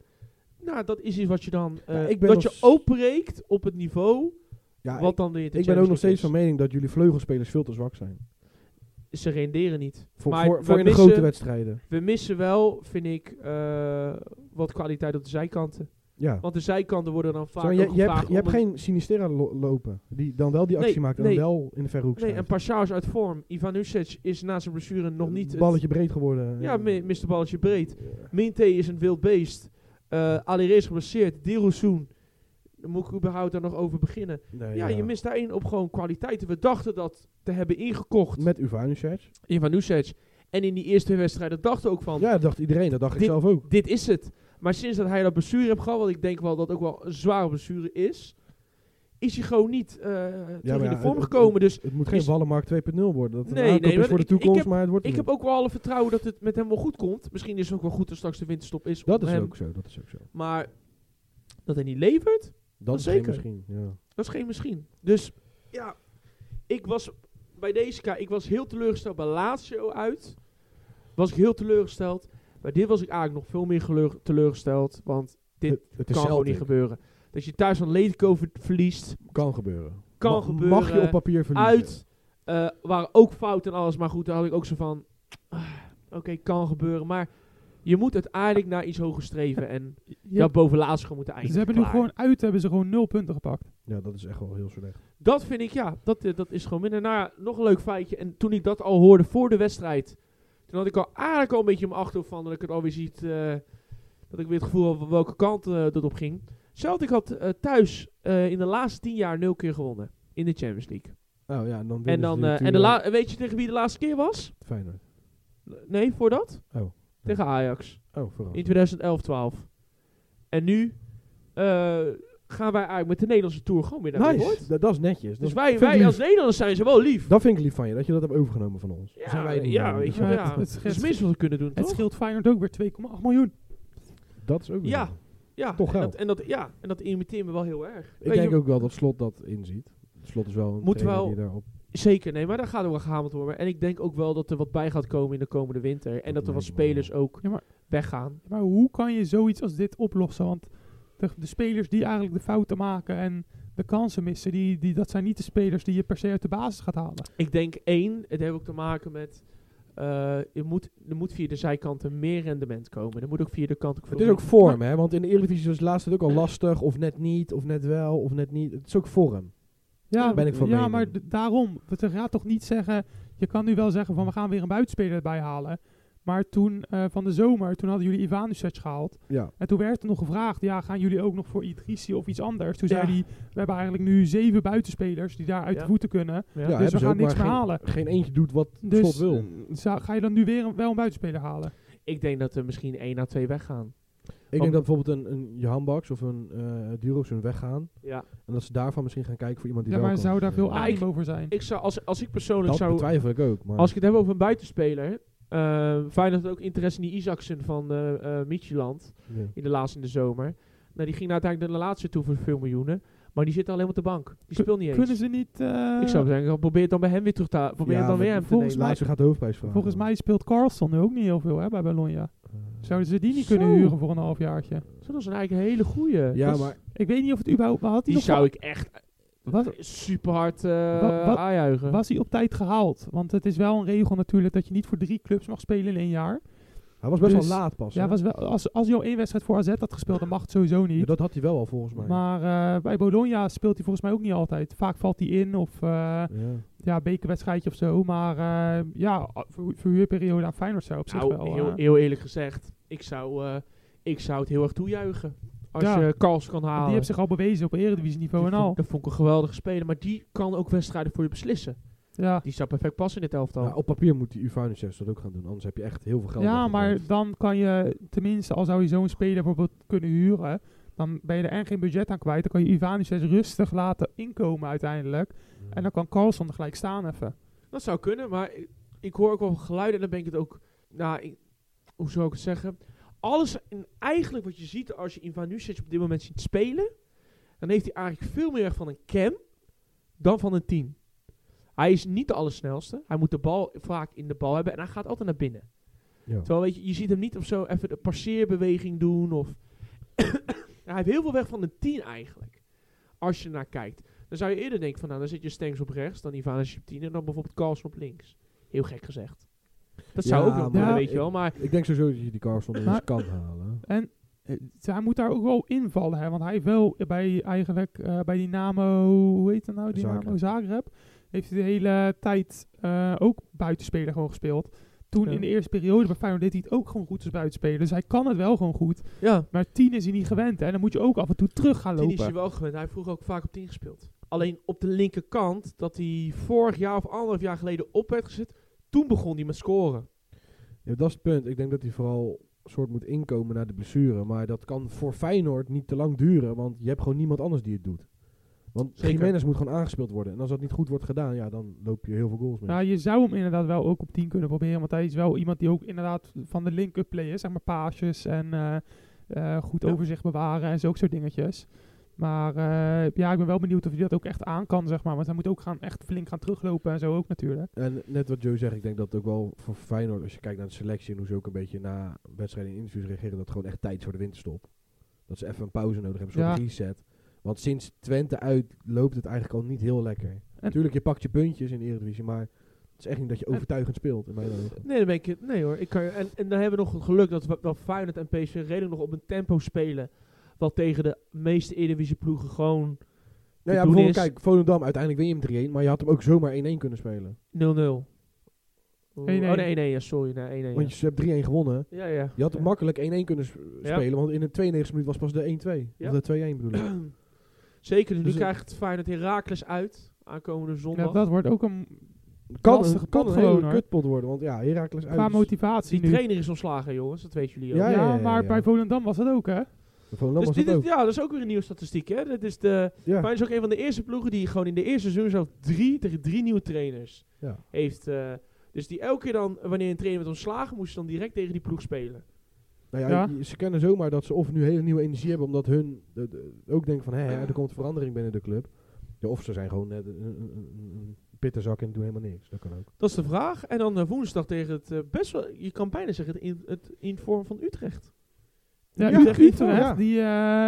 nou, dat is iets wat je dan, eh, Ja, ik ben dat nog je s- openbreekt op het niveau, ja wat ik, dan weer de ik ben ook nog Champions League steeds van is. mening dat jullie vleugelspelers veel te zwak zijn. Ze renderen niet. Voor, Maar voor, we voor in de missen- grote wedstrijden. We missen wel, vind ik, eh, wat kwaliteit op de zijkanten. Ja. Want de zijkanten worden dan vaak Zo, ook je, je gevraagd hebt, je hebt om een- geen Sinistera lo- lopen. Die dan wel die actie Nee, maakt. En dan nee. wel in de verhoek Nee, en Pashaus uit vorm. Ivan Usic is na zijn blessure nog niet... het- Balletje breed geworden. eh. ja, mi- Mr. Balletje breed. Minte is een wild beest. Eh Aliré is geblesseerd. Dirozoen. Daar moet ik überhaupt daar nog over beginnen. Nee, Ja, je mist daarin op gewoon kwaliteiten. We dachten dat te hebben ingekocht. Met Uvanusic. Ivan Usic. En in die eerste twee wedstrijden dachten we ook van... Ja, dat dacht iedereen. Dat dacht ik Dit- zelf ook. dit is het. Maar sinds dat hij dat blessure heeft gehad, wat ik denk wel dat ook wel een zware blessure is, is hij gewoon niet eh terug maar in ja, de vorm het- gekomen. Dus Het moet geen Is- Wallenmark 2.0 worden. Dat het Nee, een aankoop nee, is want voor de ik- ik toekomst, heb- maar het wordt ik het heb niet. ook wel alle vertrouwen dat het met hem wel goed komt. Misschien is het ook wel goed dat straks de winterstop is. Dat om is hem. ook zo. Dat is ook zo. Maar dat hij niet levert, Dat is Zeker. zeker. misschien, ja. dat is geen misschien. Dus ja, ik was bij deze kaart, ik was heel teleurgesteld bij Lazio uit. Was ik heel teleurgesteld. Bij dit was ik eigenlijk nog veel meer geleur- teleurgesteld. Want dit het, het is kan gewoon niet zelden. gebeuren. Dat je thuis van Letico ver- verliest, Kan gebeuren. Kan Ma- gebeuren. Mag je op papier verliezen. uit. eh waren ook fout en alles. Maar goed, daar had ik ook zo van. ah, Oké, kan gebeuren. Maar je moet uiteindelijk naar iets hoger streven. En Je- dat bovenlaatst gewoon moeten ze eindigen. hebben nu Klaar. gewoon uit, hebben ze gewoon nul punten gepakt. Ja, dat is echt wel heel slecht. Dat vind ik, ja, dat, eh, dat is gewoon minder. Nou ja, nog een leuk feitje. En toen ik dat al hoorde voor de wedstrijd. Toen had ik al eigenlijk al een beetje in mijn achterhoofd van dat ik het alweer ziet. eh, Dat ik weer het gevoel had van welke kant eh, dat op ging. Celtic had eh, thuis eh, in de laatste tien jaar nul keer gewonnen. In de Champions League. Oh ja, en dan En, winnen dan, ze eh, en de natuurlijk la- weet je tegen wie de laatste keer was? Feyenoord. Nee, voordat? Oh. Tegen Ajax. Oh, vooral. In 2011-12. En nu eh, gaan wij eigenlijk met de Nederlandse Tour gewoon weer naar de Nice, dat, dat is netjes. Dus dat, wij, vind ik wij lief. als Nederlanders zijn ze wel lief. dat vind ik lief van je, dat je dat hebt overgenomen van ons. ja, Zijn wij niet ja, meer. weet je Ja, wel. Ja. het- het dat is scheelt- minstens wat we kunnen doen, Het toch? scheelt Feyenoord ook weer 2,8 miljoen. Dat is ook weer Ja. zo. Ja, en Toch geld. dat, en dat, ja, en dat irriteert me wel heel erg. Ik Weet denk je, ook wel dat Slot dat inziet. Slot is Eh, wel een Moet trainer wel- die daarop... Zeker, nee, maar daar gaat er wel gehamerd worden. En ik denk ook wel dat er wat bij gaat komen in de komende winter. En dat er wat lijkt me wel. spelers ook Ja, maar- weggaan. Maar hoe kan je zoiets als dit oplossen? Want de, de spelers die eigenlijk de fouten maken en de kansen missen, die, die, dat zijn niet de spelers die je per se uit de basis gaat halen. Ik denk één, het heeft ook te maken met... eh, je moet, er moet via de zijkanten meer rendement komen. Er moet ook via de kant... Het is ook vorm, hè? Want in de Eredivisie was het laatste ook al lastig. Of net niet, of net wel, of net niet. Het is ook vorm. Ja, Ben ik van ja mening. maar d- daarom. Het gaat toch niet zeggen. Je kan nu wel zeggen van we gaan weer een buitenspeler erbij halen. Maar toen eh, van de zomer, toen hadden jullie Ivanusic gehaald. Ja. En toen werd er nog gevraagd, ja, gaan jullie ook nog voor Idrissi of iets anders? Toen Ja. zei hij, we hebben eigenlijk nu zeven buitenspelers die daar uit Ja. de voeten kunnen. Ja. dus Ja, we hebben ze gaan ook, maar niks meer geen- halen. Geen eentje doet wat Dus Slot wil. eh, zou- ga je dan nu weer een, wel een buitenspeler halen? Ik denk dat er misschien één à twee weggaan. Ik denk dat bijvoorbeeld een, een Johan Baks of een eh Durox hun weggaan. Ja. En dat ze daarvan misschien gaan kijken voor iemand die Ja, wel maar kan. zou daar veel Ja, ik- animo over zijn? Ik zou, als, als ik persoonlijk Dat zou... betwijfel ik ook. Maar Als ik het heb over een buitenspeler... eh Feyenoord had ook interesse in die Isaacson van eh eh Midtjylland. ja. in de laatste in de zomer. Nou, die ging uiteindelijk naar de laatste toe voor veel miljoenen. Maar die zit alleen maar op de bank. Die Ku- speelt niet eens. Kunnen ze niet... eh, ik zou zeggen, probeer het dan bij hem weer terug te halen. Probeer Ja, het dan maar weer hem te volgens nemen. mij- Laatste gaat de hoofdprijs vragen. Volgens mij speelt Carlson nu ook niet heel veel hè, bij Bologna. Eh, Zouden ze die niet Zo. kunnen huren voor een halfjaartje? Zo, dat is een eigen hele goeie. ja, dat is- maar Ik weet niet of het überhaupt... maar Had hij Die nog zou ik echt was, super hard Wat- wat- aanjuichen. was hij op tijd gehaald? Want het is wel een regel natuurlijk dat je niet voor drie clubs mag spelen in één jaar. hij was best Dus- wel laat pas. Ja, hè? was wel, als, als hij al één wedstrijd voor AZ had gespeeld, dan mag het sowieso Ja, niet. dat had hij wel al volgens mij. Maar eh, bij Bologna speelt hij volgens mij ook niet altijd. Vaak valt hij in of eh ja. ja, bekerwedstrijdje of zo. Maar eh ja, voor verhuurperiode aan Feyenoord zou op zich Nou, wel... heel, eh, heel eerlijk gezegd, ik zou, eh, ik zou het heel erg toejuichen. Als Ja. je Carls kan halen. die heeft zich al bewezen op eredivisieniveau en dat, al. vond, dat vond ik een geweldige speler. Maar die kan ook wedstrijden voor je beslissen. Ja. Die zou perfect passen in dit elftal. Nou, op papier moet die Uvanusjes dat ook gaan doen. Anders heb je echt heel veel geld. Ja, weggegeven. maar dan kan je tenminste, al zou je zo'n speler bijvoorbeeld kunnen huren, dan ben je er en geen budget aan kwijt. Dan kan je Ivanusjes rustig laten inkomen uiteindelijk. En dan kan Carlson er gelijk staan even. Dat zou kunnen, maar ik, ik hoor ook wel geluiden en dan ben ik het ook... Nou, ik- hoe zou ik het zeggen? Alles, en eigenlijk wat je ziet als je Ivanusic op dit moment ziet spelen... dan heeft hij eigenlijk veel meer van een cam dan van een 10. Hij is niet de allersnelste. Hij moet de bal vaak in de bal hebben en hij gaat altijd naar binnen. Ja. Terwijl weet je, je ziet hem niet of zo even de passeerbeweging doen. Of hij heeft heel veel weg van een 10 eigenlijk. Als je naar kijkt. Dan zou je eerder denken van nou, dan zit je Stengs op rechts, dan Ivanic op 10 en dan bijvoorbeeld Carlson op links. Heel gek gezegd. Dat zou Ja, ook nog maar- kunnen, weet je ik- wel. Maar Ik denk sowieso dat je die Carson eens Maar- kan halen. En eh, hij moet daar ook wel invallen, hè? want hij heeft wel bij eigenlijk eh, bij Dynamo, hoe heet dat nou, Dynamo Zagreb. Zagreb, heeft hij de hele tijd eh, ook buitenspeler gewoon gespeeld. Toen Ja. in de eerste periode bij Feyenoord deed hij het ook gewoon goed als buitenspeler. Dus hij kan het wel gewoon goed. ja, Maar 10 is hij niet gewend. Hè? Dan moet je ook af en toe terug gaan Tini is lopen. je wel gewend. Hij heeft vroeger ook vaak op 10 gespeeld. Alleen op de linkerkant, dat hij vorig jaar of anderhalf jaar geleden op werd gezet, toen begon hij met scoren. Ja, dat is het punt. Ik denk dat hij vooral soort moet inkomen naar de blessure. Maar dat kan voor Feyenoord niet te lang duren. Want je hebt gewoon niemand anders die het doet. Want Zeker. Jiménez moet gewoon aangespeeld worden. En als dat niet goed wordt gedaan, ja, dan loop je heel veel goals mee. Nou, je zou hem inderdaad wel ook op 10 kunnen proberen. Want hij is wel iemand die ook inderdaad van de link-up play is. Zeg maar paasjes en eh, eh, goed Ja. overzicht bewaren en zulke soort dingetjes. Maar eh, ja, ik ben wel benieuwd of hij dat ook echt aan kan, zeg maar. Want hij moet ook gaan, echt flink gaan teruglopen en zo ook natuurlijk. En net wat Joe zegt, ik denk dat het ook wel voor Feyenoord, als je kijkt naar de selectie en hoe ze ook een beetje na wedstrijden en interviews reageren, dat het gewoon echt tijd is voor de winterstop. Dat ze even een pauze nodig hebben, een soort Ja. reset. Want sinds Twente uit loopt het eigenlijk al niet heel lekker. En- Tuurlijk, je pakt je puntjes in de Eredivisie, maar het is echt niet dat je overtuigend speelt in mijn ogen. Nee, dan ben ik het- Nee hoor. Ik kan, en, en dan hebben we nog het geluk dat, we- dat Feyenoord en PSV redelijk nog op een tempo spelen. Wat tegen de meeste Eredivisie ploegen gewoon 0-0. Nou ja, doen bijvoorbeeld is- kijk, Volendam, uiteindelijk win je hem 3-1, maar je had hem ook zomaar 1-1 kunnen spelen. Ja, Oh 1-1. nee, nee, ja, sorry. Nee, 1-1. Want je hebt 3-1 gewonnen. ja. Ja, ja. Je had ja. makkelijk 1-1 kunnen s- Ja. spelen, want in de 92 minuut was pas de 1-2. Ja. Of de 2-1 bedoel ik. Zeker, dus nu Dus, eh, krijgt Feyenoord Heracles uit. Aankomende zondag. Ja, dat wordt ook een Kan Lastige een, kan pot een hele gewoon, hoor. kutpot worden, want ja, Heracles uit. qua is- Die motivatie nu. trainer is ontslagen, jongens. Dat weten jullie ook. Ja, Ja, ja, ja, maar ja. bij Volendam was dat ook, hè? Volendam dus was dit dat is, ook. ja, dat is ook weer een nieuwe statistiek, hè. Dat is de, Ja. Feyenoord is ook een van de eerste ploegen die gewoon in de eerste seizoen zelf drie tegen drie nieuwe trainers Ja. heeft. eh, dus die elke keer dan, wanneer een trainer werd ontslagen, moest ze dan direct tegen die ploeg spelen. Nou ja, Ja. je- ze kennen zomaar dat ze of nu hele nieuwe energie hebben, omdat hun de- de- ook denken van, hé, er komt verandering binnen de club. Ja, of ze zijn gewoon net een, een, een- een pitterzak en doen helemaal niks. Dat kan ook. Dat is de vraag. En dan eh, woensdag tegen het eh, best wel, je kan bijna zeggen, het in, het in vorm van Utrecht. Ja, Ja, Utrecht, Utrecht, Utrecht, ja. Die,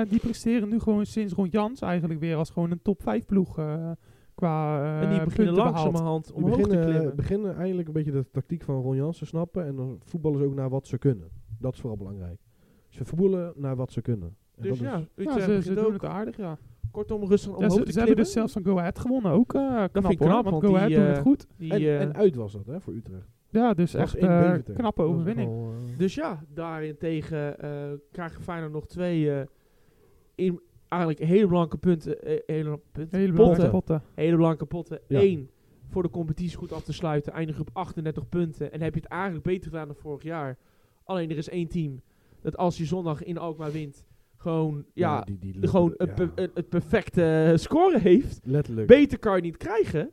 eh, die presteren nu gewoon sinds rond Jans eigenlijk weer als gewoon een top 5 ploeg eh, qua eh en die beginnen punten behaald. langzamerhand Die omhoog te beginnen, klimmen. beginnen eindelijk een beetje de tactiek van Ron Jans te snappen en dan voetballen ze ook naar wat ze kunnen. Dat is vooral belangrijk. Ze voetballen naar wat ze kunnen. En Dus dat is- ja, Ja, Utrecht ze, ze begint doen ook het aardig, ja. kortom rustig Ja, omhoog te ze ze klimmen. hebben dus zelfs van Go Ahead gewonnen ook. eh knap, vind ik hoor, knap, want want Go die, Ahead doet het eh, goed. die, en, eh, en uit was dat, hè, voor Utrecht. Ja, dus Dat was echt in eh, Deventer. knappe Dat was overwinning. wel, eh, Dus ja, daarentegen eh krijgen Feyenoord nog twee eh, in, eigenlijk hele belangrijke punten. eh, hele punten Hele potten. belangrijke potten. Hele belangrijke potten. Ja. Eén, voor de competitie goed af te sluiten. Eindig op 38 punten. En heb je het eigenlijk beter gedaan dan vorig jaar. Alleen er is één team dat als je zondag in Alkmaar wint, gewoon, ja, die, die lukken- gewoon het, ja, pe- het- het perfecte eh, score heeft. letterlijk. Beter kan je niet krijgen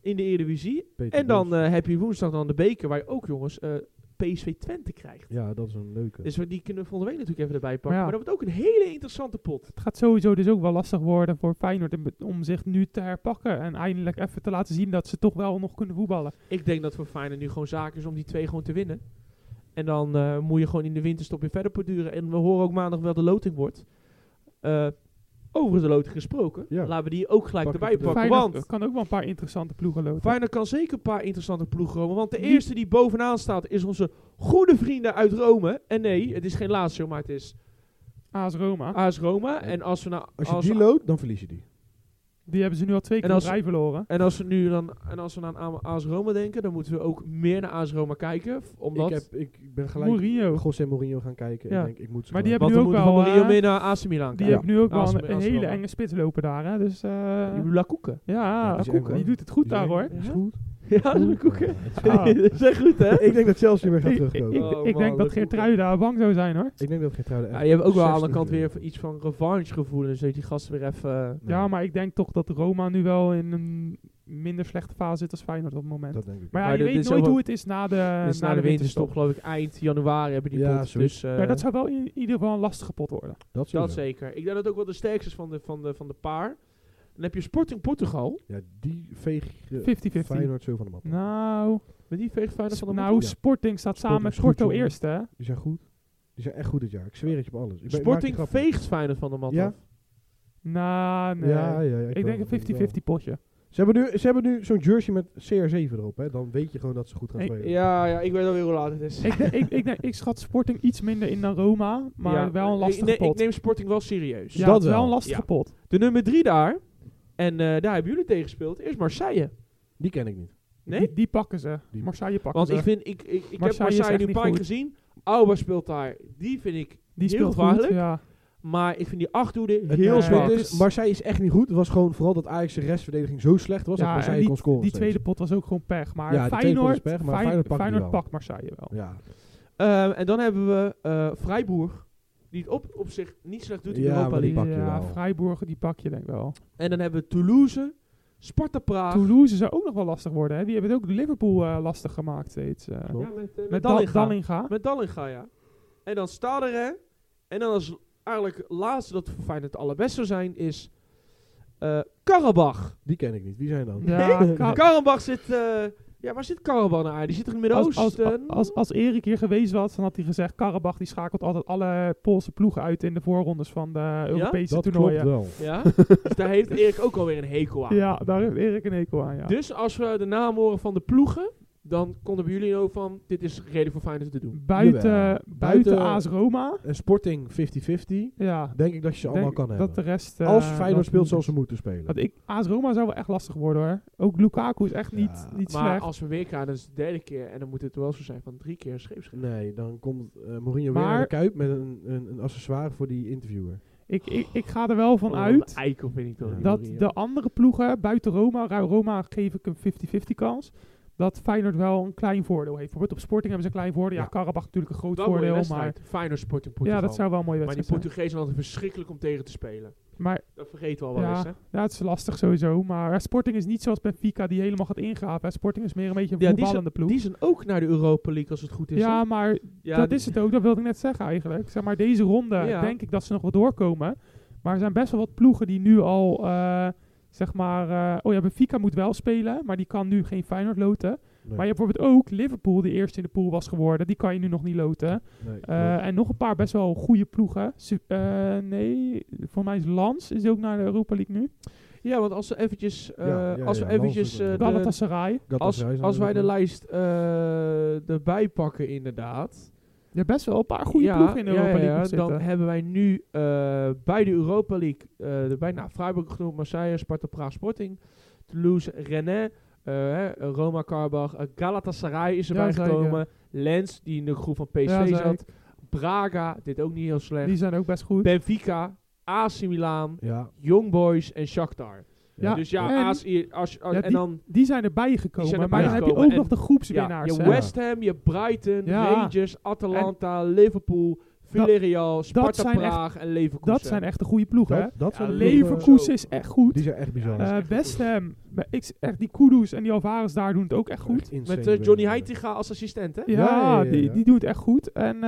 in de Eredivisie. Peter En dan Bos. eh, heb je woensdag dan de beker, waar je ook jongens eh, PSV Twente krijgt. ja, dat eh, is een leuke. Dus we- die kunnen we volgende week natuurlijk even erbij pakken. Maar ja. Maar dat wordt ook een hele interessante pot. Het gaat sowieso dus ook wel lastig worden voor Feyenoord om- om zich nu te herpakken. En eindelijk even te laten zien dat ze toch wel nog kunnen voetballen. Ik denk dat voor Feyenoord nu gewoon zaak is om die twee gewoon te winnen. En dan eh, moet je gewoon in de winterstop weer verder borduren. En we horen ook maandag wel de loting wordt. Eh, over de loting gesproken. Ja. Laten we die ook gelijk Pak erbij even de- pakken. Feyenoord Want kan ook wel een paar interessante ploegen loten. Feyenoord kan zeker een paar interessante ploegen romen. Want de Die- eerste die bovenaan staat is onze goede vrienden uit Rome. En nee, het is geen Lazio, maar het is AS Roma. AS Roma. En als we, nou, Ah. Als je als die we- loopt, dan verlies je die. Die hebben ze nu al twee En keer op als- rij verloren. En als we nu dan en als we dan aan AS Roma denken, dan moeten we ook meer naar AS Roma kijken, f- omdat Ik, heb, ik ben gelijk Mourinho. José Mourinho gaan kijken. Ja. Ik denk, ik moet ze Maar die gewoon- want nu we ook moeten wel, van Rio eh, mee naar AC Milan Die kijken. hebben nu ook wel AS- een, een AS hele Roma. enge spits lopen daar. Hè? Dus eh, Die La Koeken. ja, die is Koeken, eng, hoor. die doet het goed Die daar zijn- hoor. die Is goed. Ja, La Goed. Koeken. Ja, het Ah. is dat is echt goed, hè? goed. Ik denk dat Chelsea weer gaat Ik, ik, terugkomen. Oh, ik man, denk dat dat Geertrui daar bang zou zijn hoor. Ik denk dat geen trouwde Ja, je hebt ook wel aan de andere kant weer iets van revenge gevoelens, dat die gasten weer even... eh, Ja, maar ik denk toch dat Roma nu wel in een minder slechte fase zit als Feyenoord op het moment. Dat denk ik. maar ja, Maar je dit weet is nooit ook- hoe het is na de, dus na de winterstop, geloof ik, eind januari hebben die Ja, pot. zoiets. Dus eh, Maar dat zou wel in ieder geval een lastige pot worden. dat dat sowieso. zeker. Ik denk dat het ook wel de sterkste is van de, van de, van de paar. Dan heb je Sporting Portugal, Ja, die veeg eh, 50-50. Feyenoord zo van de map. Nou, met die veegt Feyenoord van de nou ja. Sporting staat samen Sporting met is goed, Porto jongen. eerst hè. Die zijn goed. Die zijn echt goed dit jaar. Ik zweer het je op alles. Ik mat. ben- ik maak die Sporting grap niet. veegt Feyenoord van de mat Ja? af. Nou, nee. Ja, ja, ja, ik, wel, denk een wel. 50-50 potje. Ze hebben nu, ze hebben nu zo'n jersey met CR7 erop. Hè? Dan weet je gewoon dat ze goed gaan Ik- spelen. Ja, ja, ik weet alweer hoe laat het is. ik, denk- ik, ik, denk- ik schat Sporting iets minder in dan Roma, maar Ja, wel een ik- lastige nee, Ik pot. neem Sporting wel serieus. ja, dat het is wel wel. een lastige Ja. pot. De nummer drie daar, en eh, daar hebben jullie tegen gespeeld, is Marseille. Die ken ik niet. Nee? Die, die pakken ze. Die- Marseille pakken Want ze. ik vind, ik, ik, ik heb Marseille is Marseille echt nu een niet paar keer goed. gezien. Auba speelt daar, die vind ik, heel die speelt gevaarlijk. goed, ja. maar ik vind die achthoede Het heel eh, zwak. punt is, Marseille is echt niet goed. Het was gewoon vooral dat Ajax de restverdediging zo slecht was Ja, dat en Marseille kon scoren. Die steeds. tweede pot was ook gewoon pech. Maar Ja, die tweede pot Feyenoord, is pech, maar Fey- Feyenoord pakt die wel. pakt Marseille wel. Ja, Ehm, en dan hebben we eh Freiburg, die het op, op zich niet slecht doet in Ja, Europa maar die League. pak je ja, wel. eh, Freiburg, die pak je denk ik wel. En dan hebben we Toulouse, Sparta Praag. Toulouse zou ook nog wel lastig worden. Hè. Die hebben het ook Liverpool eh, lastig gemaakt steeds. eh. Klopt. Ja, met, eh, met met Dal- Dallinga. Dallinga. Met Dallinga, ja. En dan Staderen. En dan als eigenlijk laatste dat voor Feyenoord het allerbeste zou zijn, is eh Karabach. die ken ik niet. Wie zijn dan? Ja, Ka- Karabach zit... eh, ja, waar zit Karabach nou eigenlijk? Die zit er in het als, als, Midden-Oosten? als, als Erik hier geweest was, dan had hij gezegd... Karabach die schakelt altijd alle Poolse ploegen uit in de voorrondes van de Europese dat klopt toernooien. wel. Ja, dus daar heeft Erik ook alweer een hekel aan. Ja, daar heeft Erik een hekel aan, ja. Dus als we de naam horen van de ploegen dan konden we jullie ook van, dit is reden voor Feyenoord te doen. Buiten, Jawel. buiten, Buiten- AS Roma. En Sporting 50-50. Ja, Denk ik dat je ze allemaal denk kan dat de hebben. rest... eh, Als dat Feyenoord speelt niet zoals ze is. moeten spelen. Want ik, AS Roma zou wel echt lastig worden hoor. Ook Lukaku is echt Ja, niet, niet maar slecht. als we weer gaan, dat is de derde keer. En dan moet het wel zo zijn van drie keer scheepsrecht. Nee, dan komt eh, Mourinho Maar- weer naar de Kuip met een, een, een accessoire voor die interviewer. Ik, ik, ik ga er wel van Oh, uit Een eikel vind ik toch. Ja. die dat Mourinho. de andere ploegen buiten Roma, Ru- Roma geef ik een 50-50 kans. Dat Feyenoord wel een klein voordeel heeft. Bijvoorbeeld op Sporting hebben ze een klein voordeel. Ja, Ja. Karabach natuurlijk een groot Wel een mooie voordeel. Maar wedstrijd. Feyenoord sport in ja, Portugal. dat zou wel een mooie maar die wedstrijd zijn. Portugezen hadden verschrikkelijk om tegen te spelen. Maar Dat vergeten we al wel Ja. eens, hè? ja, het is lastig sowieso. Maar eh, Sporting is niet zoals Benfica die helemaal gaat ingraven. hè. Sporting is meer een beetje een Ja, die voetballende ploeg. Die zijn ook naar de Europa League als het goed is. dus ja, hè? maar ja dat die- is het ook. Dat wilde ik net zeggen eigenlijk. Zeg maar, deze ronde Ja. denk ik dat ze nog wel doorkomen. Maar er zijn best wel wat ploegen die nu al, eh, zeg maar... eh, oh ja, Benfica moet wel spelen, maar die kan nu geen Feyenoord loten. Nee, Maar je hebt bijvoorbeeld ook Liverpool, die eerst in de pool was geworden. Die kan je nu nog niet loten. nee, Eh, nee. En nog een paar best wel goede ploegen. Su- eh, nee, voor mij is Lans is die ook naar de Europa League nu. Ja, want als we eventjes... eh, Ja, ja, als we ja, eventjes... Lans eh, is de- ook- Galatasaray. als, Galatasaray is als wij de natuurlijk lijst eh, erbij pakken, inderdaad. Je hebt best wel een paar goede ja, ploegen in de ja, Europa League ja, nog zitten. Dan hebben wij nu eh, bij de Europa League eh erbij. Nou, Freiburg genoemd, Marseille, Sparta Praag Sporting, Toulouse, Rennes, eh, hè, Roma Karbach, eh, Galatasaray is erbij Ja, zei ik, gekomen. Lens, die in de groep van PSV Ja, zei zat. Braga, dit ook niet heel slecht. die zijn ook best goed. Benfica, AC Milan, wel- Ja, Young Boys en Shakhtar. Ja, dus ja, en- AC, als, als- Ja, en dan Die zijn erbij gekomen. zijn maar erbij dan heb je gekomen. ook En- nog de ja, groepswinnaars. je hè. West Ham, je Brighton, Ja. Rangers, Atalanta, Liverpool, Villarreal, Sparta zijn echt- Praag en Leverkusen. dat zijn echt de goede ploegen. hè. dat, dat Ja, zijn de ploegen- Leverkusen is echt goed. Die zijn echt bizar. Ja, Eh, West Ham, maar ik, echt die Kudus en die Alvarez daar doen het ook echt goed. Echt insane Met eh, Johnny willen. Heitinga als assistent, hè? Ja, Ja, ja, ja, Die, ja. die doen het echt goed. En eh,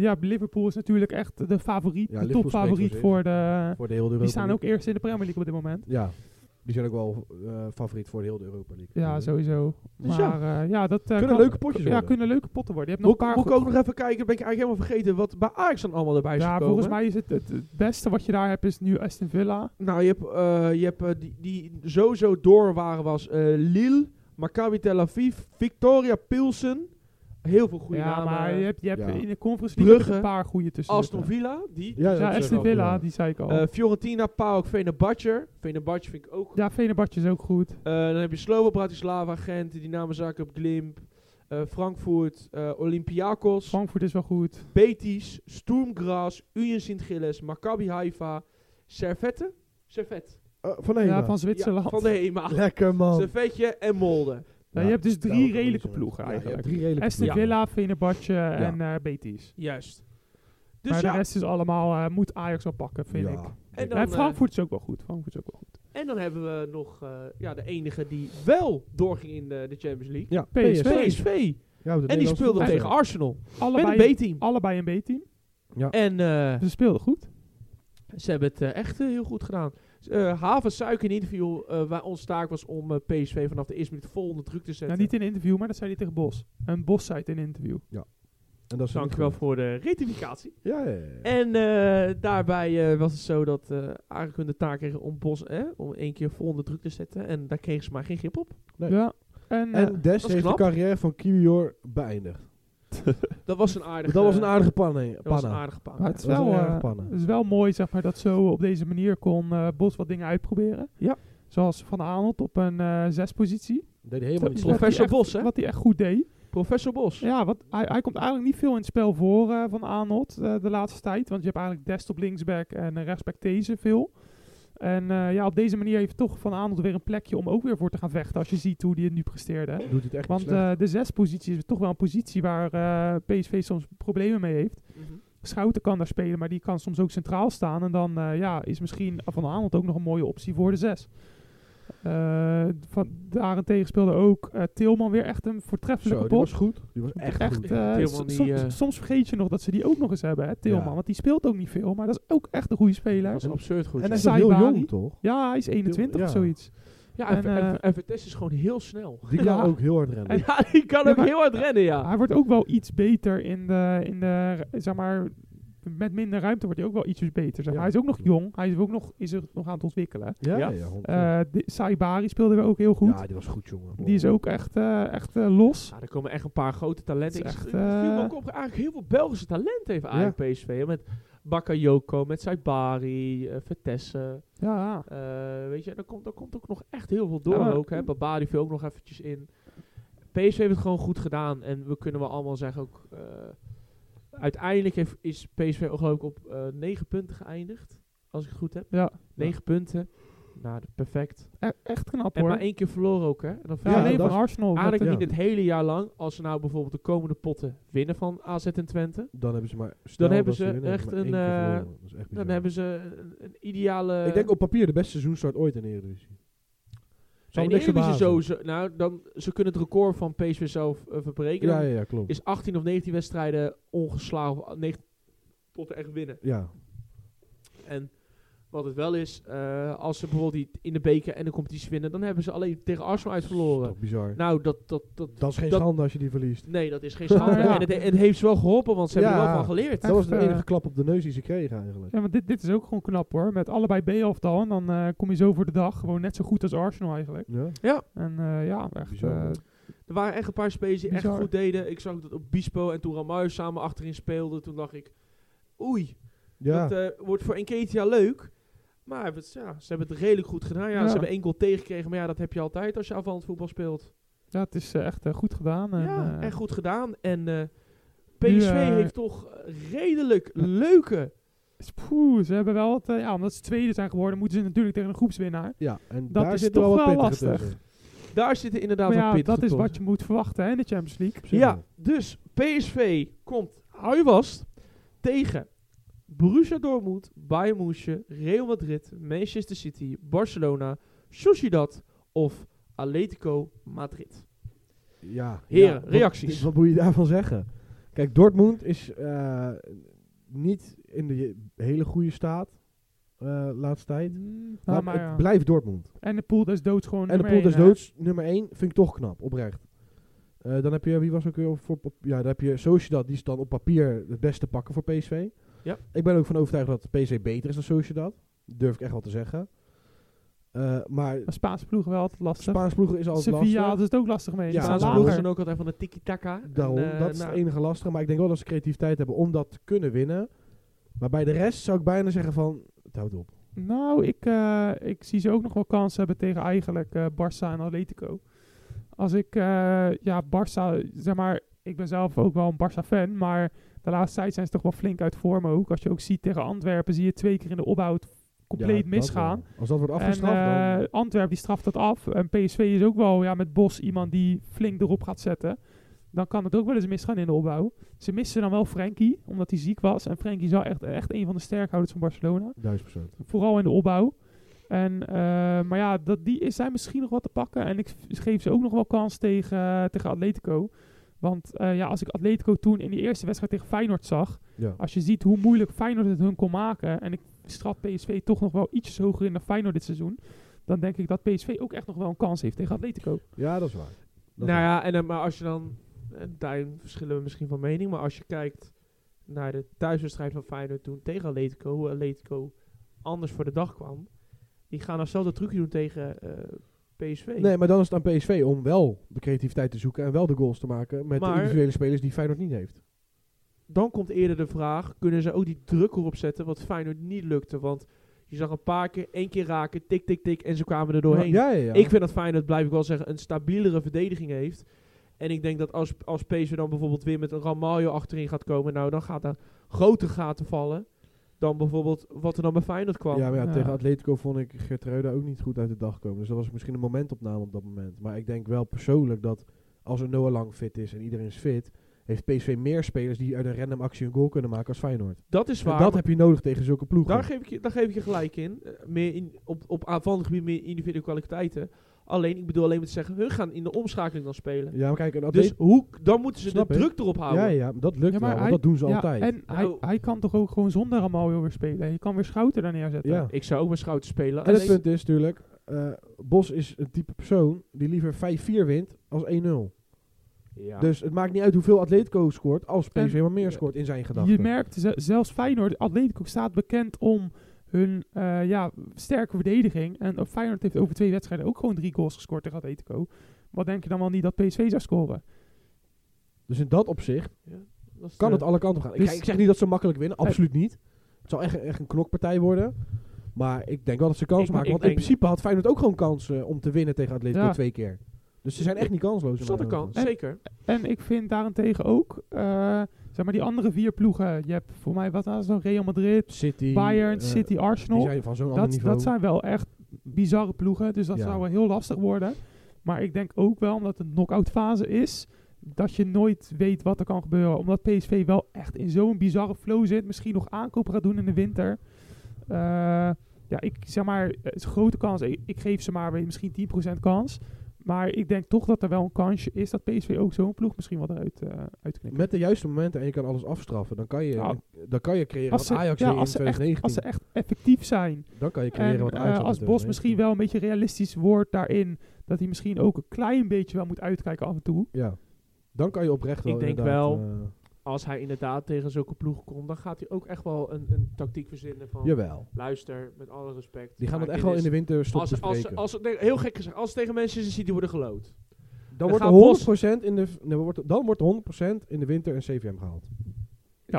ja, Liverpool is natuurlijk echt de favoriet, Ja, de Liverpool spreekt topfavoriet voor voor de... Voor de hele Europa Die staan ook eerst in de Premier League op dit moment. League. Ja, die zijn ook wel eh, favoriet voor de hele Europa League. Ja, sowieso. Dus Maar ja. eh, ja, dat... eh, Kunnen kan- leuke potjes Ja, worden. kunnen leuke potten worden. Je hebt Moet, nog een moet paar... ik goed- ook nog even kijken, ben ik eigenlijk helemaal vergeten wat bij Ajax dan allemaal erbij is ja, gekomen. volgens mij is het, het het beste wat je daar hebt is nu Aston Villa. Nou, je hebt, eh, je hebt eh, die, die sowieso door waren was eh, Lille, Maccabi Tel Aviv, Victoria Pilsen. Heel veel goede ja, namen. maar eh, je hebt, je hebt Ja. in de Conference League heb je Brugge, een paar goede tussen Aston zitten. Villa, die. Ja, Ja, Aston Villa, die zei ik al. eh, Fiorentina, PAOK, Fenerbahce. Fenerbahce vind ik ook. ja, Venerbahce is ook goed. Eh, dan heb je Slovo, Bratislava, Gent, Dynamo Zagreb, Glimp, eh, Frankfurt, eh, Olympiakos. Frankfurt is wel goed. Betis, Sturmgras, Union Sint-Gilles, Maccabi Haifa, Servette, Servet, Oh, van Hema. Ja, van ja, Zwitserland. van de HEMA, Lekker man. Servetje en Molde. Ja, je hebt dus Ja, drie dat kan niet redelijke zo. ploegen Ja, je hebt eigenlijk. drie redelijke Aston ploegen. Villa, Fenerbahce en eh, Betis. Juist. Dus Maar ja, de rest is allemaal, eh, moet Ajax wel pakken, vind ik. en, dan, En eh, Frankfurt is ook wel goed. Frankfurt is ook wel goed. en dan hebben we nog eh, ja, de enige die wel doorging in de, de Champions League. Ja, PSV. PSV. Ja, de En die Nederlandse speelde voetbal. tegen Arsenal. Met Allebei, Ah. een B-team. allebei een B-team. En eh, Ze speelden goed. ze hebben het eh, echt eh, heel goed gedaan. Eh Haven Suik in interview eh, waar ons taak was om eh, PSV vanaf de eerste minuut vol onder druk te zetten. Nou, niet in een interview, maar dat zei hij tegen Bos. Een Bos zei het in een interview. En dat is Dankjewel voor de rectificatie. Ja, ja, ja. En eh, daarbij eh, was het zo dat eh eigenlijk hun de taak kregen om Bos eh, om één keer vol onder druk te zetten. En daar kregen ze maar geen grip op. Nee. Ja. En, eh, En Des dat is heeft knap. de carrière van Kiwior beëindigd. Dat was een aardige Dat was een aardige panne. eh, Dat was een panna. aardige paan. maar het is Dat was wel, een eh, erg pannen. het is wel mooi zeg maar, dat zo op deze manier kon eh, Bos wat dingen uitproberen. Ja. Zoals Van Aanholt op een eh zespositie. Deed hij helemaal niet Professor slecht. Wat hij Bos, echt- hè? Wat hij echt goed deed. Professor Bos. Ja, wat, hij, hij komt eigenlijk niet veel in het spel voor eh, van Arnold eh, de laatste tijd. Want je hebt eigenlijk Dest op linksback en eh, rechtsback deze veel. En eh, ja, op deze manier heeft toch van Arnold weer een plekje om ook weer voor te gaan vechten. Als je ziet hoe hij het nu presteerde. hè. Doet hij het echt niet Want slecht. eh, de zespositie is toch wel een positie waar eh, PSV soms problemen mee heeft. Mhm. Schouten kan daar spelen, maar die kan soms ook centraal staan. En dan eh, ja, is misschien Van Aanholt ook nog een mooie optie voor de zes. Eh, van, daarentegen speelde ook eh, Tilman weer echt een voortreffelijke Zo, die pot. was goed. Die was echt, Echt, goed. eh, Tilman s- die, soms, eh, soms vergeet je nog dat ze die ook nog eens hebben, hè, Tilman. Ja. Want die speelt ook niet veel, maar dat is ook echt een goede speler. Dat was absurd goed. ja. En hij is nog Saibari. heel jong, toch? ja, hij is 21 of Ja. zoiets. ja, en, en, Ver- en, eh, en Vertes is gewoon heel snel. Die kan Ja. ook heel hard rennen. ja, die kan Ja, ook maar- heel hard rennen, ja. Hij wordt ook wel iets beter in de, in de zeg maar, met minder ruimte wordt hij ook wel ietsjes beter. Zeg. maar. Ja. Hij is ook nog jong. Hij is ook nog, is er nog aan het ontwikkelen. Ja, Ja. ja. ja, hond- Eh de, Saibari speelde weer ook heel Eh, goed. ja, die was goed, jongen. Die is ook echt, eh, echt eh, los. Ja, er komen echt een paar grote talenten. Het is Ik echt, viel me eh, ook op, eigenlijk heel veel Belgische talenten heeft Ajax PSV. hè, Met Bakayoko, met Saibari, eh Vitesse. Ja, eh, weet je, daar komt, daar komt ook nog echt heel veel door Ja, maar- ook. Hè. Babari viel ook nog eventjes in. PSV heeft het gewoon goed gedaan. En we kunnen wel allemaal zeggen ook... eh, uiteindelijk heeft, is PSV ook geloof ik op eh 9 punten geëindigd. Als ik het goed heb. ja. 9 punten. Nou, perfect. E- echt knap En hoor. maar één keer verloren ook, hè. En dan ja, Ja, alleen dat van Arsenal. eh, met Eigenlijk de- niet het hele jaar lang. Als ze nou bijvoorbeeld de komende potten winnen van AZ en Twente, Dan hebben ze maar... stel hebben dat ze winnen, echt hebben ze een, maar één keer eh, verloren. Dat is echt dan bizar. hebben ze een, een ideale. Ik denk op papier de beste seizoenstart ooit in de Eredivisie. Zal Nee, me in niks de Eredivisie verbazen. sowieso. Nou, dan ze kunnen het record van PSV zelf eh, verbreken. Ja, Dan ja, ja, klopt. Is 18 of 19 wedstrijden ongeslagen of 19 potten echt winnen. ja, En wat het wel is, eh, als ze bijvoorbeeld die in de beker en de competitie winnen, dan hebben ze alleen tegen Arsenal uit dat is verloren. toch bizar. Nou, dat, dat, dat, dat is geen dat- schande als je die verliest. nee, dat is geen schande. Ja. en, het, en het heeft ze wel geholpen, want ze hebben er Ja. wel van geleerd. Dat was de Echt, eh, enige klap op de neus die ze kregen eigenlijk. Ja, want dit, dit is ook gewoon knap hoor. Met allebei B-aftal. En dan eh, kom je zo voor de dag. Gewoon net zo goed als Arsenal eigenlijk. Ja, En eh, ja, echt. Bizar, eh, hoor. Er waren echt een paar spelers die echt Bizar. goed deden. Ik zag dat Obispo en Touran Muis samen achterin speelden. Toen dacht ik, oei, ja. dat eh, wordt voor Enketia leuk. Maar hij heeft het- ja, ze hebben het redelijk goed gedaan. Ja, Ja. Ze hebben één goal tegengekregen, maar ja, dat heb je altijd als je aanvallend voetbal speelt. ja, het is eh, echt eh, goed gedaan. En, ja, eh, echt goed gedaan. En eh, Nu, PSV eh, heeft toch eh, redelijk leuke... Poeh, ze hebben wel het, eh, ja, omdat ze tweede zijn geworden, moeten ze natuurlijk tegen een groepswinnaar. ja, en dat daar is zit toch wel wat wel pittige lastig. tussen. Daar zitten inderdaad Maar wel ja, pittige dat is toppen. wat je moet verwachten hè, in de Champions League. Op zich Ja, wel. dus PSV komt, hou je vast, tegen Borussia Dortmund, Bayern München, Real Madrid, Manchester City, Barcelona, Sociedad of Atletico Madrid. Ja, Heren, ja, wat- reacties. Wat moet je daarvan zeggen? Kijk, Dortmund is eh, niet in de je- hele goede staat eh laatste tijd. Mm, nou, Maar, maar ja. het blijft Dortmund. En de pool des doods gewoon En de nummer pool één, des hè. doods, nummer 1, vind ik toch knap, oprecht. Eh, dan heb je, wie was ook weer op, voor, op- ja, dan heb je Sociedad, die is dan op papier het beste pakken voor PSV. Ja. Ik ben er ook van overtuigd dat PSV beter is dan Sociedad. Durf ik echt wel te zeggen. Eh, maar Een Spaanse ploeg wel altijd lastig. Spaans ploegen is altijd Sevilla lastig. hadden het ook lastig mee. Ja, Ja, ze maar- ploegen zijn ook altijd van de tiki-taka. En, Daarom, eh, dat is nou, het enige lastige. Maar ik denk wel dat ze creativiteit hebben om dat te kunnen winnen. Maar bij de rest zou ik bijna zeggen van, het houdt op. Nou, ik, eh, ik zie ze ook nog wel kansen hebben tegen eigenlijk eh Barça en Atletico. Als ik, eh, ja, Barça, zeg maar, ik ben zelf ook wel een Barça-fan, maar de laatste tijd zijn ze toch wel flink uit vorm ook. Als je ook ziet tegen Antwerpen, zie je twee keer in de opbouw compleet Ja, dat misgaan. wel. Als dat wordt En afgestraft, eh, dan... Antwerpen die straft dat af. En PSV is ook wel ja, met Bos iemand die flink erop gaat zetten. Dan kan het ook wel eens misgaan in de opbouw. Ze missen dan wel Frenkie, omdat hij ziek was. En Frenkie is wel echt, echt een van de sterkhouders van Barcelona. Duizend procent. Vooral in de opbouw. En, eh, maar ja, dat, die is, zijn misschien nog wat te pakken. En ik geef ze ook nog wel kans tegen, tegen Atletico. Want eh, ja, als ik Atletico toen in die eerste wedstrijd tegen Feyenoord zag... Ja. Als je ziet hoe moeilijk Feyenoord het hun kon maken... en ik strat PSV toch nog wel iets hoger in dan Feyenoord dit seizoen... dan denk ik dat PSV ook echt nog wel een kans heeft tegen Atletico. ja, dat is waar. Dat is nou ja, en, eh, maar als je dan... eh, Daarin verschillen we misschien van mening. Maar als je kijkt naar de thuiswedstrijd van Feyenoord toen tegen Atletico... Hoe Atletico anders voor de dag kwam. Die gaan datzelfde trucje doen tegen eh, PSV. Nee, maar dan is het aan PSV om wel de creativiteit te zoeken en wel de goals te maken met de Maar- individuele spelers die Feyenoord niet heeft. dan komt eerder de vraag: kunnen ze ook die druk erop zetten? Wat Feyenoord niet lukte. Want je zag een paar keer, één keer raken, tik, tik, tik. En ze kwamen er doorheen. Ja, ja, ja. Ik vind dat Feyenoord, blijf ik wel zeggen, een stabielere verdediging heeft. En ik denk dat als, als PSV dan bijvoorbeeld weer met een Ramaljo achterin gaat komen. Nou, dan gaat er grote gaten vallen. Dan bijvoorbeeld wat er dan bij Feyenoord kwam. ja, maar ja, Ja. tegen Atletico vond ik Geert ook niet goed uit de dag komen. Dus dat was misschien een momentopname op dat moment. Maar ik denk wel persoonlijk dat als een Noah Lang fit is en iedereen is fit, heeft PSV meer spelers die uit een random actie een goal kunnen maken als Feyenoord. dat is waar. en dat maar heb je nodig tegen zulke ploegen. daar, geef ik je, daar geef ik je gelijk in. Eh, meer in op, op aanvallend gebied meer individuele kwaliteiten. Alleen, ik bedoel alleen maar te zeggen, hun gaan in de omschakeling dan spelen. ja, maar kijk, een Dus Atletico... hoe, dan moeten ze Snap de ik. druk erop houden. ja, ja, dat lukt wel, want dat doen ze altijd. En hij, Nou. hij kan toch ook gewoon zonder Ramaljo weer spelen. Je kan weer Schouten daar neerzetten. Ja. Ik zou ook mijn schouder spelen. En het Alleen- punt is natuurlijk, eh, Bos is een type persoon die liever 5-4 wint als 1-0. Ja. Dus het maakt niet uit hoeveel Atletico scoort, als PSV En- maar meer scoort in zijn gedachten. Je merkt, ze- zelfs Feyenoord, Atletico staat bekend om hun eh, ja, sterke verdediging. En ook Feyenoord heeft over twee wedstrijden ook gewoon drie goals gescoord tegen Atletico. Wat denk je dan wel niet dat PSV zou scoren? Dus in dat opzicht Dat is eh, kan de- het alle kanten op gaan. Ik- Dus- ik, zeg niet dat ze makkelijk winnen, absoluut niet. Het zal echt, echt een knokpartij worden. Maar ik denk wel dat ze kans Ik- maken. ik want in denk- principe had Feyenoord ook gewoon kansen om te winnen tegen Atletico Ja. twee keer. Dus ze zijn echt niet kansloos. in Zat er mijn kan, ogen. zeker. En ik vind daarentegen ook, eh, zeg maar die andere vier ploegen. Je hebt voor mij, wat was zo'n Real Madrid, City, Bayern, eh, City, Die Arsenal. zijn van zo'n ander Dat, niveau. dat zijn wel echt bizarre ploegen. Dus dat Ja. zou wel heel lastig worden. Maar ik denk ook wel, omdat het een knock-out fase is, dat je nooit weet wat er kan gebeuren. Omdat PSV wel echt in zo'n bizarre flow zit. Misschien nog aankopen gaat doen in de winter. Eh, ja, ik zeg maar, het is een grote kans. Ik, ik geef ze maar weet, misschien 10% kans. Maar ik denk toch dat er wel een kansje is dat PSV ook zo'n ploeg misschien wat eruit eh uitknikt. Met de juiste momenten en je kan alles afstraffen, dan kan je, Ja. dan kan je creëren Als wat ze, Ajax ja, deed in als, ze echt, 2019. als ze echt effectief zijn, dan kan je creëren En wat dus, eh, Ajax had in als Bos 2019. misschien wel een beetje realistisch wordt daarin, dat hij misschien ook een klein beetje wel moet uitkijken af en toe. Ja. Dan kan je oprecht wel Ik denk inderdaad, eh, Als hij inderdaad tegen zulke ploegen komt, dan gaat hij ook echt wel een, een tactiek verzinnen van... eh, jawel. Luister, met alle respect. Die gaan maar het dit echt wel in de is- winter stop als, als, bespreken. als, het- nee, Heel gek gezegd, als het tegen Manchester City worden gelood. dan, dan wordt gaat er Bos- 100% in de, v- nee, wordt, dan wordt er 100% in de winter een CVM gehaald. Ja,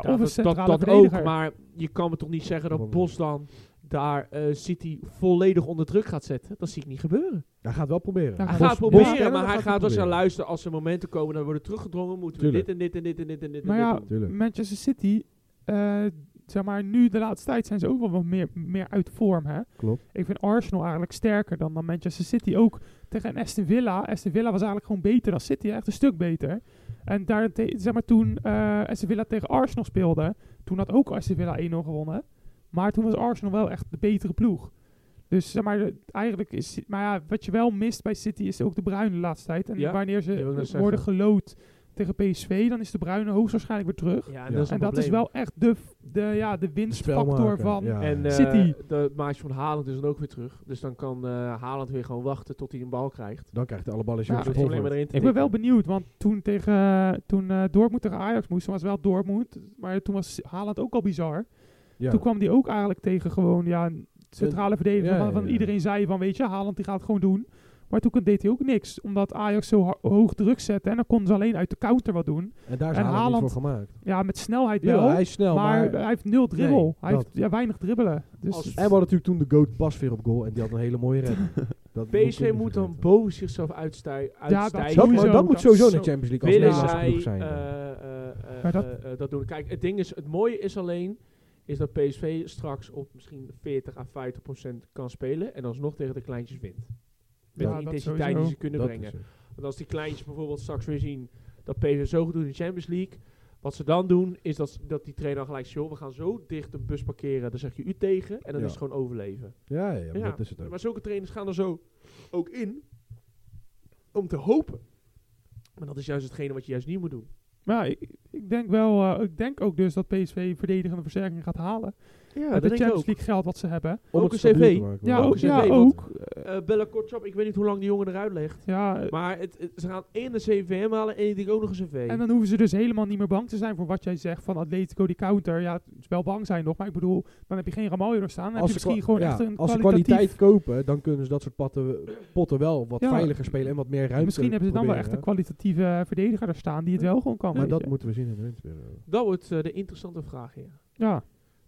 Ja, of een dat, dat, centrale dat verdediger. ook, maar je kan me toch niet zeggen dat Waarom? Bos dan daar eh, City volledig onder druk gaat zetten? Dat zie ik niet gebeuren. Hij gaat wel proberen. Ja, Hij Bos- gaat Bos proberen, kennen, maar dan hij gaat dus wel proberen. zeggen, luister, als er momenten komen, dan worden we teruggedrongen, moeten Tuurlijk. we dit en dit en dit en dit en dit en Maar dit ja, doen. Tuurlijk. Manchester City, eh, zeg maar nu de laatste tijd zijn ze ook wel wat meer, meer uit vorm. Hè? Klopt. Ik vind Arsenal eigenlijk sterker dan, dan Manchester City. Ook tegen een Aston Villa. Aston Villa was eigenlijk gewoon beter dan City. Echt een stuk beter. En daar, zeg maar, toen eh Aston Villa tegen Arsenal speelde, toen had ook Aston Villa 1-0 gewonnen. Maar toen was Arsenal wel echt de betere ploeg. Dus zeg maar, de- eigenlijk is... Maar ja, wat je wel mist bij City is ook de Bruine de laatste tijd. En Ja, wanneer ze dat wil ik net worden gelood tegen PSV, dan is de Bruine hoogstwaarschijnlijk weer terug. Ja, Ja. en dat is, En een dat is probleem. wel echt de, f- de, ja, de winstfactor Spelmaker, van. ja. En eh City. de maatje van Haaland is dan ook weer terug. Dus dan kan eh Haaland weer gewoon wachten tot hij een bal krijgt. dan krijgt hij alle ballen Ja, ja, Dus hoef je alleen maar erin te Ik ben wel tikken. benieuwd, want toen, tegen, eh, toen eh Dortmund tegen Ajax moest, toen was wel Dortmund, maar toen was Haaland ook al bizar. ja. Toen kwam die ook eigenlijk tegen gewoon ja, een centrale verdediger, ja, waarvan ja, ja. iedereen zei van weet je, Haaland die gaat het gewoon doen. Maar toen kon- deed hij ook niks, omdat Ajax zo ho- hoog druk zette en dan konden ze alleen uit de counter wat doen. En daar is en Haaland, Haaland- niet voor gemaakt. Ja, met snelheid wel, Ja, hij is snel, maar, maar... hij heeft nul dribbel. Nee, hij heeft ja, weinig dribbelen. Als- Dus En we hadden natuurlijk toen de Goat pas weer op goal. En die had een hele mooie redding. Dat moet je PSV niet moet vergeten. dan boven zichzelf uitstij dat- uitstijgen. Dat, moet- Sowieso, dat moet dat- sowieso in de zo- Champions League als willen Nederlandse zij ploeg zijn. eh, eh, eh, Maar dat- eh, eh, dat doen. Kijk, het ding is, het mooie is alleen is dat PSV straks op misschien 40 à 50 procent kan spelen en alsnog tegen de kleintjes wint. Met Ja, de dat intensiteit sowieso. die ze kunnen Dat brengen. is het. Want als die kleintjes bijvoorbeeld straks weer zien dat PSV zo goed doet in de Champions League, wat ze dan doen is dat, ze- dat die trainer gelijk zegt, "Joh, we gaan zo dicht een bus parkeren, dan zeg je u tegen en dan Ja. is het gewoon overleven. Ja, ja, ja, maar Ja, dat is het ook. Maar zulke trainers gaan er zo ook in om te hopen. Maar dat is juist hetgene wat je juist niet moet doen. maar ja, ik, ik denk wel, eh, ik denk ook dus dat PSV verdedigende versterking gaat halen. Ja, Met de Champions League geld wat ze hebben. Om ook het een stabiel CV. te maken. Ja, Maar ook. een Ja, CV, ook. Eh, Bella Kortschap, ik weet niet hoe lang die jongen eruit legt. Ja, eh, Maar het, het- ze gaan één een CVM halen en ik denk ook nog een CV. en dan hoeven ze dus helemaal niet meer bang te zijn voor wat jij zegt van Atletico die counter. Ja, het is wel bang zijn nog, maar ik bedoel, dan heb je geen Ramaljo er staan. Dan Als heb je ze misschien kwa- gewoon ja, echt een als ze kwalitatief- kwaliteit kopen, dan kunnen ze dat soort patten, potten wel wat Ja. veiliger spelen en wat meer ruimte Misschien hebben ze dan wel proberen, echt hè. een kwalitatieve eh, verdediger er staan die het wel gewoon kan. Maar weet dat je. moeten we zien in de winterperiode. Dat wordt eh, de interessante vraag, ja. Ja,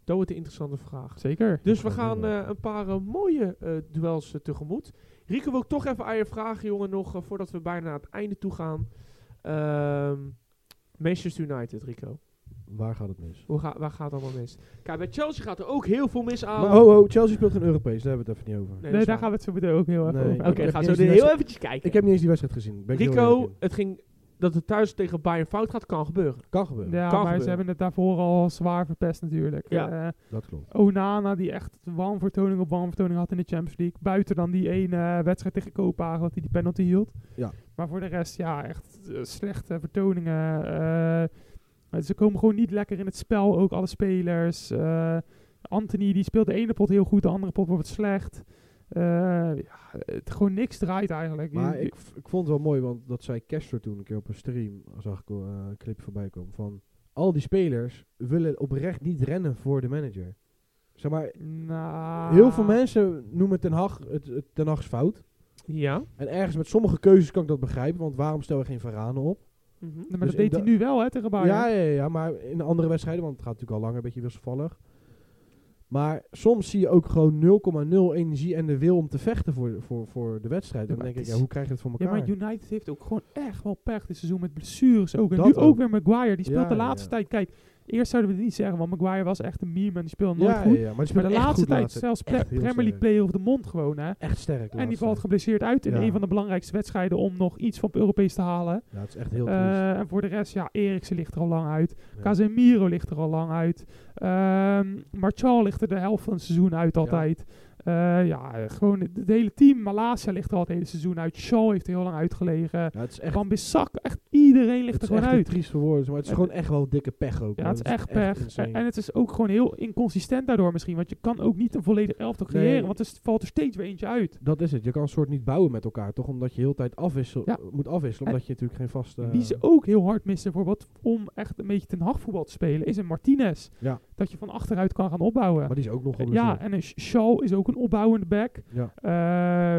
Dat wordt de interessante vraag. zeker. Dus we Dat gaan gaan we eh, doen. een paar eh, mooie eh, duels eh, tegemoet. Rico, wil ik toch even aan je vragen, jongen, nog eh, voordat we bijna naar het einde toe gaan. Ehm, Manchester United, Rico. Waar gaat het mis? Hoe ga, waar gaat het allemaal mis? Kijk, bij Chelsea gaat er ook heel veel mis aan. Maar oh, oh, Chelsea speelt geen Europees, daar hebben we het even niet over. Nee, Nee, dat is daar waar. gaan we het zo meteen ook heel even Nee. over Oké, Oké, hebben. we Ik gaan heb zo niet er eens- heel eventjes kijken. Ik heb niet eens die wedstrijd gezien. Ben ik heel eerlijk Rico, in. het ging dat het thuis tegen Bayern fout gaat, kan gebeuren. Kan gebeuren, Ja, kan maar gebeuren. ze hebben het daarvoor al zwaar verpest natuurlijk. Ja. Eh, dat klopt. Onana die echt wanvertoning op wanvertoning had in de Champions League. Buiten dan die ene eh, wedstrijd tegen Kopenhagen dat hij die penalty hield. Ja. Maar voor de rest, ja, echt eh, slechte vertoningen. eh, ze komen gewoon niet lekker in het spel, ook alle spelers. Eh, Anthony die speelt de ene pot heel goed, de andere pot wordt slecht. Eh, ja, het, gewoon niks draait eigenlijk. Maar Je- ik, v- ik vond het wel mooi, want dat zei Kester toen een keer op een stream, zag ik eh, een clip voorbij komen, van al die spelers willen oprecht niet rennen voor de manager. Zeg maar, Nou, heel veel mensen noemen Ten Hag het, het Ten Hag's fout. Ja. En ergens met sommige keuzes kan ik dat begrijpen, want waarom stellen we geen Varanen op? Mhm. Maar dus dat deed in hij da- nu wel, hè, tegen Bayern. Ja, ja, ja, maar in andere wedstrijden, want het gaat natuurlijk al langer een beetje wisselvallig. Maar soms zie je ook gewoon 0,0 energie en de wil om te vechten voor, voor, voor de wedstrijd. Ja, En dan maar denk ik, het ja, is- hoe krijg je het voor Ja, elkaar? maar United heeft ook gewoon echt wel pech dit seizoen met blessures ook. En Dat nu ook ook. weer Maguire. Die speelt Ja, de ja, laatste ja. tijd. Kijk, eerst zouden we het niet zeggen, want Maguire was echt een meme en die speelde nooit ja, goed. ja, ja, maar, die Maar speelden de echt laatste goed tijd, laatst. zelfs pre- Echt heel Premier League sterk. play of de mond gewoon, hè. Echt sterk. En die laatst. valt geblesseerd uit in Ja. een van de belangrijkste wedstrijden om nog iets van het Europees te halen. Ja, het is echt heel Eh, triest. en voor de rest, ja, Eriksen ligt er al lang uit. Ja. Casemiro ligt er al lang uit. Ehm Martial ligt er de helft van het seizoen uit altijd. Eh, ja, eh, gewoon het, het hele team. Malasia ligt er al het hele seizoen uit. Shaw heeft er heel lang uitgelegen. Ja, het is echt, Van Bissak, echt iedereen het ligt er is gewoon echt een uit. triest voor woorden. Maar het is En- gewoon echt wel dikke pech ook. Ja, hoor. het is Dat echt pech. insane. En, en het is ook gewoon heel inconsistent daardoor misschien. Want je kan ook niet een volledig elftal Nee. creëren. Want er s- valt er steeds weer eentje uit. dat is het. Je kan een soort niet bouwen met elkaar, toch? Omdat je heel de tijd afwissel, Ja. moet afwisselen. En- Omdat je natuurlijk geen vaste... Die ze ook heel hard missen voor wat, om echt een beetje ten Hag voetbal te spelen. Is een Martinez. Ja. Dat je van achteruit kan gaan opbouwen. maar die is ook nog Eh, eh, Ja, en een Sh- Shaw is ook een opbouwende back. Ja.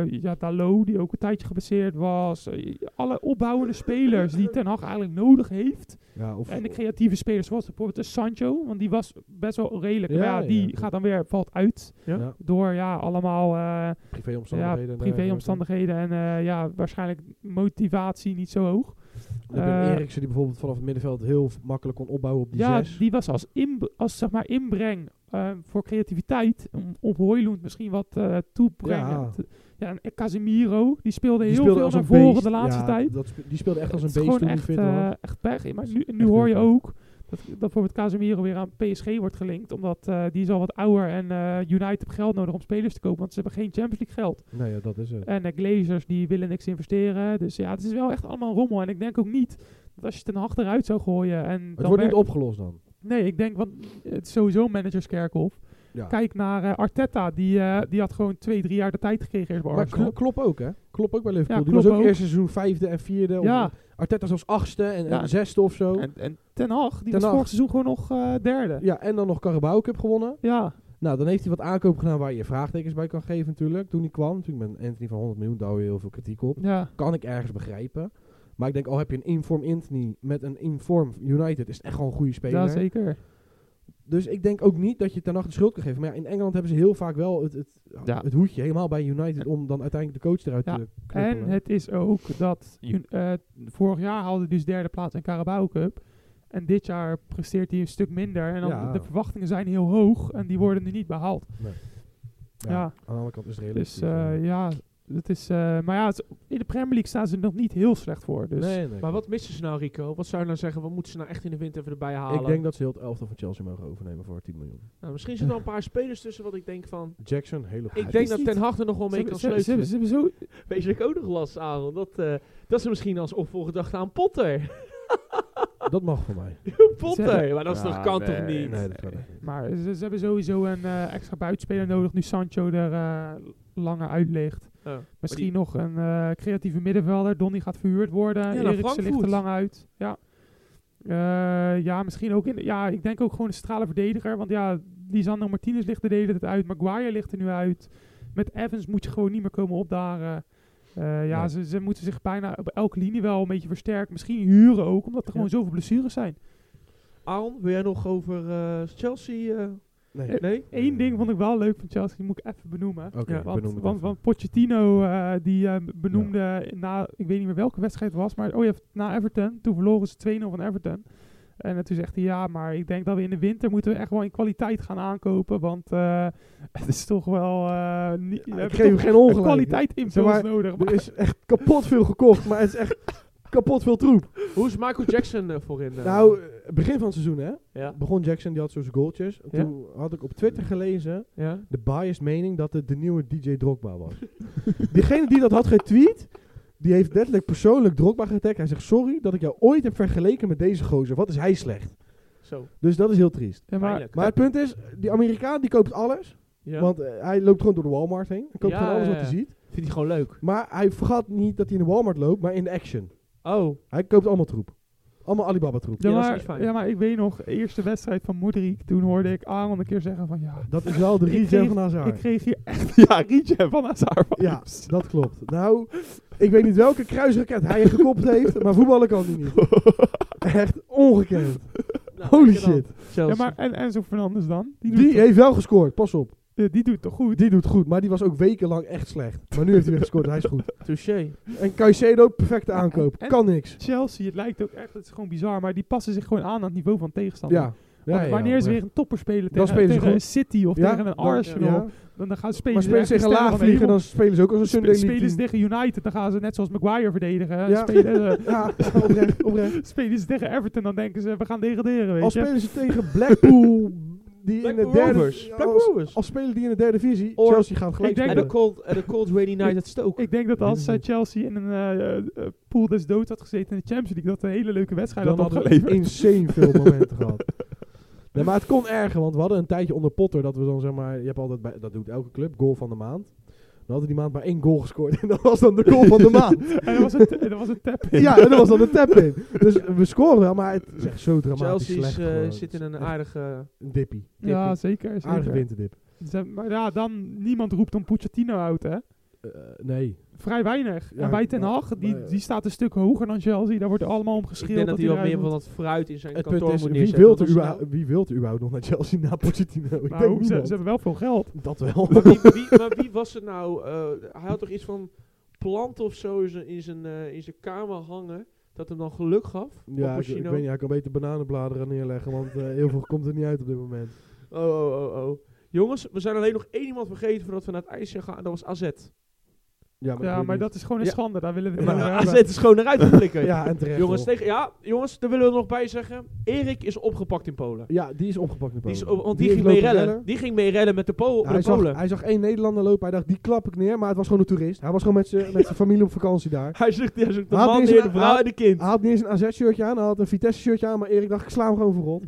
Eh, ja, Dalot, die ook een tijdje geblesseerd was. Eh, alle opbouwende spelers die Ten Hag eigenlijk nodig heeft. ja, of, eh, En de creatieve spelers, zoals bijvoorbeeld de Sancho. Want die was best wel redelijk. maar Ja, ja, die ja. gaat dan weer, valt uit. Ja. Ja. Door ja, allemaal eh, ja, privéomstandigheden. en dergelijke. privéomstandigheden. En eh, ja, waarschijnlijk motivatie niet zo hoog. Dan heb je een Eh, Eriksen die bijvoorbeeld vanaf het middenveld heel v- makkelijk kon opbouwen op die ja, zes. die was als, inb- als zeg maar inbreng eh, voor creativiteit. Om op Hoijloend misschien wat eh toebrengen. Ja. Te- Ja, en Casemiro, die speelde Die heel speelde veel als naar een voren beest. de laatste Ja, tijd. dat spe- die speelde echt als Het een is beest gewoon toen hij echt, fit eh, was. echt pech. Maar is nu, echt nu hoor heel je pech. ook dat, dat bijvoorbeeld Casemiro weer aan PSG wordt gelinkt. Omdat eh, die is al wat ouder en eh, United heeft geld nodig om spelers te kopen. Want ze hebben geen Champions League geld. Nee, ja, dat is het. En de Glazers die willen niks investeren. Dus ja, het is wel echt allemaal rommel. En ik denk ook niet dat als je ten achter eruit zou gooien. En Het dan wordt niet wer- opgelost dan. Nee, ik denk, want het is sowieso managerskerkhof. Ja. Kijk naar eh, Arteta, die, eh, die had gewoon twee, drie jaar de tijd gekregen eerst bij Maar Arsenal. Klo- Klopp ook, hè? Klopt ook bij Liverpool. Ja, die was Klopp ook, ook. eerst seizoen vijfde en vierde. of- eh, ja, Arteta zelfs achtste en, Ja. en zesde of zo. en, eh, en Ten Hag, die Ten was Hag. vorig seizoen gewoon nog eh, derde. ja, en dan nog Carabao Cup gewonnen. Ja, Nou, dan heeft hij wat aankoop gedaan waar je vraagtekens bij kan geven natuurlijk. Toen hij kwam, natuurlijk met Anthony van 100 miljoen, daar hou je heel veel kritiek op. ja. Kan ik ergens begrijpen. Maar ik denk, al heb je een inform Anthony met een inform United, is het echt gewoon een goede speler. ja zeker. Dus ik denk ook niet dat je ten nacht de schuld kan geven. Maar ja, in Engeland hebben ze heel vaak wel het, het, Ja. het hoedje helemaal bij United om dan uiteindelijk de coach eruit Ja, te knuppelen. En het is ook dat Ju- eh, vorig jaar haalde hij dus derde plaats in Carabao Cup. En dit jaar presteert hij een stuk minder. En dan Ja. de verwachtingen zijn heel hoog en die worden nu niet behaald. ja. Aan de andere kant is het realistisch. Dus eh, ja. ja, dat is. eh, maar ja, het- in de Premier League staan ze nog niet heel slecht voor. Dus nee, nee. Maar wat missen ze nou, Rico? Wat zou je nou zeggen? Wat moeten ze nou echt in de winter even erbij halen? Ik denk dat ze heel het elftal van Chelsea mogen overnemen voor 10 miljoen. nou, misschien zitten er wel een paar spelers tussen wat ik denk van... Jackson, hele goede. Ik denk is dat niet- Ten Hag er nog wel Ze mee hebben- kan ze hebben- ze hebben- sleutelen. ze hebben zo Weet je wat ik ook nog last aan? want Dat, eh, dat is misschien als opvolgedachte aan Potter. Dat mag voor mij. Potter! Maar dat is Ja, toch, kan nee, toch niet? Nee, dat kan echt niet. Maar ze, ze hebben sowieso een eh, extra buitenspeler nodig nu Sancho er eh, langer uit ligt. Oh. Misschien die- nog een eh, creatieve middenvelder. Donny gaat verhuurd worden. naar Eriksen ligt Frankfurt. er lang uit. Ja. Eh, ja, misschien ook in. de- ja, ik denk ook gewoon een strale verdediger. Want ja, Lisandro Martinez ligt er de hele tijd uit. Maguire ligt er nu uit. Met Evans moet je gewoon niet meer komen opdagen. Eh, ja, Nee. ze, ze moeten zich bijna op elke linie wel een beetje versterken. Misschien huren ook, omdat er gewoon zoveel blessures zijn. Aaron, wil jij nog over eh, Chelsea? eh, Nee. nee? Eén ding vond ik wel leuk van Chelsea, die moet ik even benoemen. Hmm. Oké, Ja, ik Want, benoem het want, even. want Pochettino, eh, die eh, benoemde na, ik weet niet meer welke wedstrijd het was, maar oh ja, na Everton, toen verloren ze 2-0 van Everton. En eh, toen zegt hij, ja, maar ik denk dat we in de winter moeten we echt wel in kwaliteit gaan aankopen, want eh, het is toch wel... eh niet, we ik hebben geef hem toch geen een ongelijk. kwaliteit impuls Zeg maar, nodig. Maar Er is echt kapot veel gekocht, maar het is echt kapot veel troep. Hoe is Michael Jackson eh, voorin? eh? Nou, eh, begin van het seizoen hè, ja. begon Jackson, die had zo zijn goaltjes. En Ja. Toen had ik op Twitter gelezen ja. de biased mening dat het de nieuwe DJ Drogba was. Diegene die dat had getweet, die heeft letterlijk persoonlijk Drogba getagd. Hij zegt, sorry dat ik jou ooit heb vergeleken met deze gozer. Wat is hij slecht? Zo. Dus dat is heel triest. Ja, maar, pijnlijk. Maar het punt is, die Amerikaan die koopt alles. Ja. Want eh, hij loopt gewoon door de Walmart heen. Hij koopt Ja, gewoon alles ja, wat hij ja. ziet. Vindt hij gewoon leuk. Maar hij vergat niet dat hij in de Walmart loopt, maar in de action. Oh, Hij koopt allemaal troep. Allemaal Alibaba troep. Ja, Ja, dat is niet maar, fijn. ja, maar ik weet nog, eerste wedstrijd van Moederik, toen hoorde ik Aaron een keer zeggen van ja, Dat is wel de Ik regen kreeg- van Hazard. ik kreeg hier echt, ja, Rietje van Hazard Ja, vibes. dat klopt. Nou, ik weet niet welke kruisraket hij gekopt heeft, maar voetballen kan hij niet. Echt ongekend. nou, Holy lekker dan. shit. Ja, Chelsea. maar en Enzo Fernandes dan? Die, doet, Die eh, heeft wel gescoord, pas op. eh, die doet toch goed? Die doet goed, maar die was ook wekenlang echt slecht. Maar nu heeft hij weer gescoord, hij is goed. Touché. En Caicedo, perfecte aankoop. En- Kan niks. Chelsea, het lijkt ook echt, het is gewoon bizar, maar die passen zich gewoon aan aan het niveau van tegenstander. Ja. Ja, Want ja, ja, wanneer ze oprecht. weer een topper spelen Dan tegen, spelen ze tegen een goed. City of Ja, tegen een dan- Arsenal, Ja. dan, dan gaan spelen Maar spelen ze tegen laag vliegen, dan spelen ze ook als een Sunday League spelen ze team. tegen United, dan gaan ze net zoals Maguire verdedigen. Ja. Spelen, ze, Ja, oprecht, oprecht. spelen ze tegen Everton, dan denken ze, we gaan degraderen, weet Al je. spelen ze tegen Blackpool, die in de Blackpool derde... Rovers. Blackpool Als, Rovers. als spelen die in de derde divisie, Or- Chelsea gaat gelijk Ik denk En spelen. de cold, en de cold rainy night at Stoke. Ik denk dat als eh, Chelsea in een eh, eh, pool des doods had gezeten in de Champions League, dat een hele leuke wedstrijd dan had hadden we opgeleverd. insane veel momenten gehad. Nee, maar het kon erger, want we hadden een tijdje onder Potter dat we dan zeg maar, je hebt altijd bij, dat doet elke club, goal van de maand. We hadden die maand maar één goal gescoord en dat was dan de goal van de maand. en dat was een, en dat was een tap. ja, en dat was dan de tap in. Dus we scoren wel, maar het is echt zo dramatisch Chelsea is, slecht. eh, gewoon. zit in een Echt aardige... een dippie. Ja, zeker. Aardige zeker. winterdip. Ze- Maar ja, dan niemand roept om Pochettino uit, hè. Eh, nee. Vrij weinig. Ja, en bij Ten Hag, die, maar- die staat een stuk hoger dan Chelsea. Daar wordt allemaal om Ik geschreeuwd. denk dat hij hij wat eruit meer van moet. dat fruit in zijn Het punt kantoor is, moet wie neerzetten. wil, want nou- er als je überhaupt- wie wil er überhaupt nog naar Chelsea na Pochettino? Ik denk Nou, ze, ze niemand. hebben wel veel geld. Dat wel. nou- Maar wie, wie, maar wie was het nou? eh, hij had toch iets van planten of zo in zijn, in, zijn, eh, in zijn kamer hangen. Dat hem dan geluk gaf. Ja, ik, ik Pochettino. weet niet, hij kan beter bananenbladeren neerleggen, want eh, heel veel komt er niet uit op dit moment. Oh, oh, oh, oh. Jongens, we zijn alleen nog één iemand vergeten voordat we naar het ijsje gaan. En dat was AZ. Ja, maar, Ja, maar dat is gewoon een Ja. schande. Daar willen we Ja, het niet over Maar hebben. AZ is gewoon eruit geflikkerd. Ja, en terecht. jongens, hoor. tegen, ja, jongens, daar willen we nog bij zeggen. Erik is opgepakt in Polen. Ja, die is opgepakt in Die Polen. is, op- want die, ging heeft mee lopen rellen. Die ging mee rellen met de, Pol Ja, met hij, de zag, Polen. hij zag één Nederlander lopen. Hij dacht, die klap ik neer. Maar het was gewoon een toerist. Hij was gewoon met zijn met zijn familie op vakantie daar. Hij zoekt, hij zoekt de Had man niet neer, eens- de vrouw had- en de kind. Hij had niet eens een AZ-shirtje aan. Hij had een Vitesse-shirtje aan. Maar Erik dacht, ik sla hem gewoon voor rot.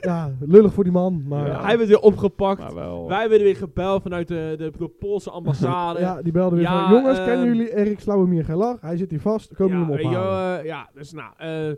ja, lullig voor die man. Maar Ja. ja, Hij werd weer opgepakt. Maar wel. Wij werden weer gebeld vanuit de, de, de Poolse ambassade. die belde weer Ja, van, jongens, ehm, kennen jullie Erik Slauwemier Gelach? Hij zit hier vast. Komen Ja, jullie hem weet je ophalen? wel, eh, ja, dus nou, eh,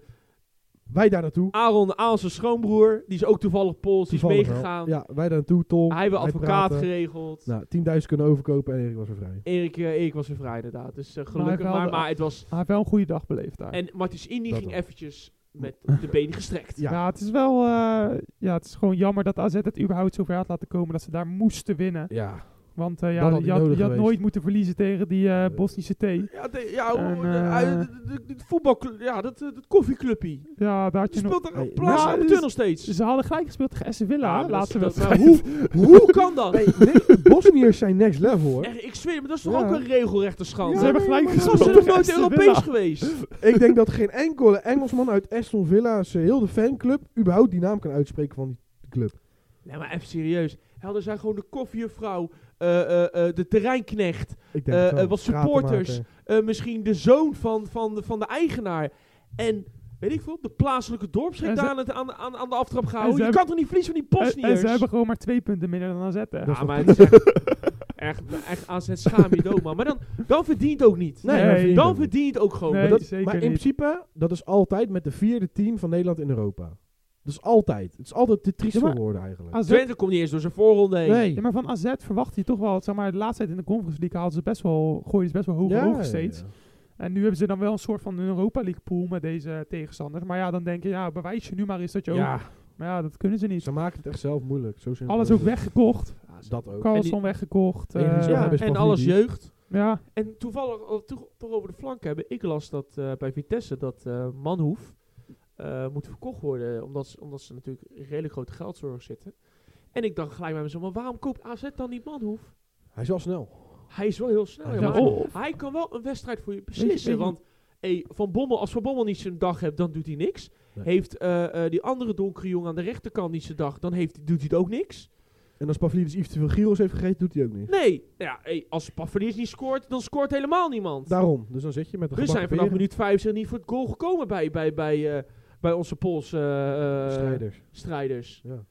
wij daar naartoe. Aaron, Aaron zijn schoonbroer, die is ook toevallig Pools, die is Toevallig wel. meegegaan. Ja, wij daar naartoe, Tom. Hij heeft een advocaat praatte. geregeld. Nou, 10.000 kunnen overkopen en Erik was weer vrij. Erik, eh, Erik was weer vrij inderdaad, dus eh, hij gelukkig. Maar, belde maar, af. het was... Hij heeft wel een goede dag beleefd daar. En Martensini Dat ging wel. eventjes met de benen gestrekt. ja. Ja. het is wel... eh, ja, het is gewoon jammer dat AZ het überhaupt zover had laten komen dat ze daar moesten winnen. Ja. Want eh, Dat ja, had je niet had, nodig je had geweest. nooit moeten verliezen tegen die eh, Bosnische thee. Ja, de- ja, En, hoe- de- hij- eh, de- de- de- de voetbalclub, ja, dat, eh, dat koffieclubje. Ja, daar had Je je nog... speelt er Hey, op plaats ja, van de dus- tunnel steeds. Ze hadden gelijk gespeeld tegen Essen Villa, Ja, hè, dat laatste is- dat- wedstrijd. maar Hoe kan dat? Nee, nee, Bosniërs zijn next level hoor. Echt, ik zweer, het, maar dat is toch Ja. ook een regelrechte schande? ze hebben nee, gelijk maar Ze gespeeld zijn nog tegen nooit Aston Europees Villa. geweest. Ik denk dat geen enkele Engelsman uit Aston Villa's eh, heel de fanclub überhaupt die naam kan uitspreken van die club. Nee, maar even serieus. Helden zijn gewoon de koffiejuffrouw, eh, eh, eh, de terreinknecht, Ik denk Eh, het wel. eh, wat Stratenmaker. supporters. eh, misschien de zoon van, van, de, van de eigenaar. En weet ik veel, de plaatselijke dorpsgek En ze- daar aan, het- aan, aan, aan de aftrap En gehouden. Je ze hebben- kan toch niet verliezen van die En, en Bosniërs? ze hebben gewoon maar twee punten minder dan AZ. hè. Dus- ja, maar het is echt, echt, echt aan het schaam je dood, man. Maar dan, dan verdient het ook niet. Nee, Nee, dat vind ik Dan ook niet. verdient het ook gewoon. Nee, Dat- zeker Maar in niet. principe, dat is altijd met de vierde team van Nederland in Europa. Dat is altijd. Het is altijd de trieste Ja, maar- woorden eigenlijk. AZ Twente komt niet eens door zijn voorronde heen. Nee. Ja, maar van AZ verwacht je toch wel, zeg maar, de laatste tijd in de Conference League haalden ze best wel, gooiden ze best wel hoog Ja, hoog steeds. ja, ja. En nu hebben ze dan wel een soort van een Europa League pool met deze tegenstanders. Maar ja, dan denk je, ja, bewijs je nu maar eens dat je ook... Ja, Maar ja, dat kunnen ze niet. ze maken het echt zelf moeilijk. Zo simpel Alles is ook het. weggekocht. Dat ook. Carlson weggekocht. En die eh, is nog Ja, hebben en Spavlidis. alles jeugd. ja, En toevallig, al toch toch over de flank hebben, ik las dat eh, bij Vitesse dat eh, Manhoef eh, moet verkocht worden, omdat ze, omdat ze natuurlijk in redelijk grote geldzorg zitten. En ik dacht gelijk bij mezelf, maar waarom koopt AZ dan niet Manhoef? Hij is al snel. Hij is wel heel snel, Hij ja, is wel maar oh. snel. hij kan wel een wedstrijd voor je Weet je- beslissen. weet je- Want hey, Van Bommel, als Van Bommel niet zijn dag hebt, dan doet hij niks. Nee. Heeft eh, eh, die andere donkere jongen aan de rechterkant niet zijn dag, dan heeft, doet hij het ook niks. En als Pavlidis iets te veel gyros heeft gegeten, doet hij ook niks. Nee, ja, hey, als Pavlidis niet scoort, dan scoort helemaal niemand. Daarom. Dus dan zit je met een We zijn gebakken vanaf peren. minuut 5 niet voor het goal gekomen bij, bij, bij, eh, bij onze Poolse eh, eh, Strijders. strijders. Ja.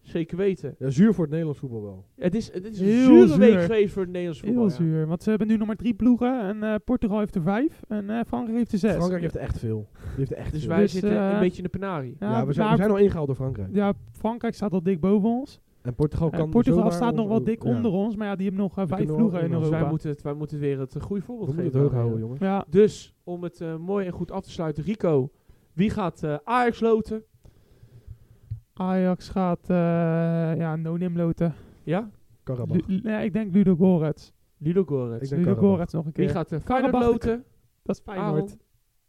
Zeker weten. Ja, zuur voor het Nederlands voetbal wel. Het is, het is een Heel zure zuur. week geweest voor het Nederlands voetbal. Heel ja. zuur. Want ze hebben nu nog maar drie ploegen. En eh, Portugal heeft er vijf. En eh, Frankrijk heeft er zes. Frankrijk heeft er echt veel. Die heeft er echt Dus veel. wij Dus, zitten eh, een beetje in de penarie. Ja, ja, we zijn, we maar- zijn al ingehaald door Frankrijk. ja, Frankrijk staat al dik boven ons. En Portugal Eh, kan Portugal zomaar staat nog ons wel ook- dik ja. onder ons. Maar ja, die hebben nog eh, vijf kunnen ploegen nog- in dus Dus Europa. wij moeten, het, wij moeten weer het eh, goede We voorbeeld moeten geven. het hoog aan, houden, eh. jongen. ja, Dus, om het eh, mooi en goed af te sluiten. Rico, wie gaat eh, Ajax loten? Ajax gaat eh, ja, no-nim loten. Ja? Karabach. Lu- nee, ik denk Ludo Goretz. Ludo Goretz. Ik denk Ludo Karabach. Goretz nog een keer. Wie gaat eh, Feyenoord Karabach. loten? Dat is Feyenoord. Aaron.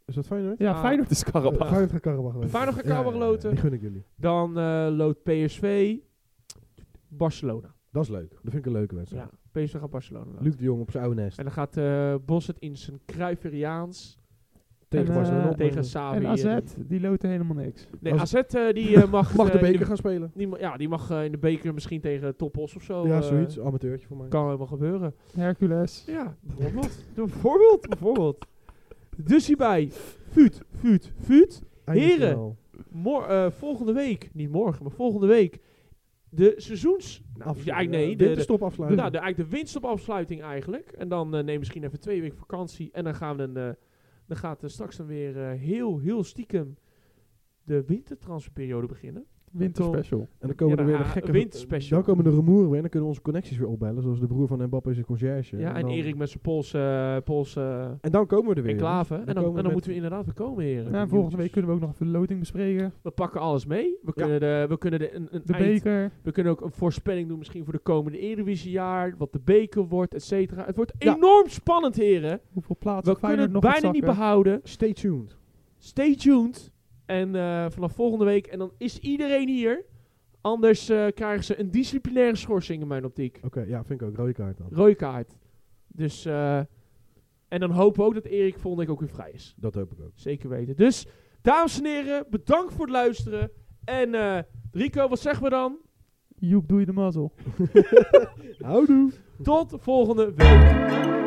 Is dat Feyenoord? Eh, Ja, Ah. Feyenoord is Karabach. Feyenoord gaat Karabach lopen. Feyenoord gaat Ja, Karabach ja, ja, loten. Die gun ik jullie. Dan eh loopt PSV Barcelona. Dat is leuk. Dat vind ik een leuke wedstrijd. Ja, PSV gaat Barcelona loten. Luc de Jong op zijn oude nest. En dan gaat eh Bos het in zijn Cruyffiaans tegen eh, Barcelona. op. tegen Savi. En eh, AZ, die loten helemaal niks. Nee, Als- AZ eh, die eh, mag... Mag de eh, in beker gaan spelen. die ma- ja, die mag eh, in de beker misschien tegen Topos of zo. ja, eh, zoiets. Amateurtje voor mij. kan helemaal gebeuren. Hercules. Ja, bijvoorbeeld. bijvoorbeeld, bijvoorbeeld. Dus hierbij, vuut, vuut, vuut. Heren. Eindfinale. Mor- eh, volgende week, niet morgen, maar volgende week, de seizoens... Nou, Afsluiten. ja, nee, de, de, winterstop nou, de, afsluiten. eigenlijk de winststopafsluiting eigenlijk. En dan eh, neem misschien even twee weken vakantie. En dan gaan we een, eh, dan gaat eh, straks dan weer eh, heel, heel stiekem de wintertransferperiode beginnen. Winterspecial. En dan komen Ja, er dan weer de gaan we gekke... een winterspecial. Dan komen de rumoeren weer en dan kunnen we onze connecties weer opbellen. Zoals de broer van Mbappé is een conciërge. Ja, en dan- Erik met zijn Poolse, eh, Poolse eh, En dan komen we er weer. enclave. En dan, komen en we dan met- moeten we inderdaad weer komen, heren. Nou, volgende week kunnen we ook nog even de loting bespreken. We pakken alles mee. We Ja. kunnen, de, we kunnen de, een, een De eind- beker. We kunnen ook een voorspelling doen misschien voor de komende Eredivisiejaar. Wat de beker wordt, et cetera. Het wordt Ja. enorm spannend, heren. Hoeveel plaatsen We kunnen het Feyenoord nog bijna gaat niet zakken. behouden. Stay tuned. Stay tuned. En eh, vanaf volgende week. En dan is iedereen hier. Anders eh, krijgen ze een disciplinaire schorsing in mijn optiek. Oké, ja, vind ik ook. Rode kaart dan. Rode kaart. Dus, eh, en dan hopen we ook dat Erik volgende week ook weer vrij is. Dat hoop ik ook. Zeker weten. Dus, dames en heren, bedankt voor het luisteren. En eh, Rico, wat zeggen we dan? Joep, doe je de mazzel. Houdoe! Tot volgende week.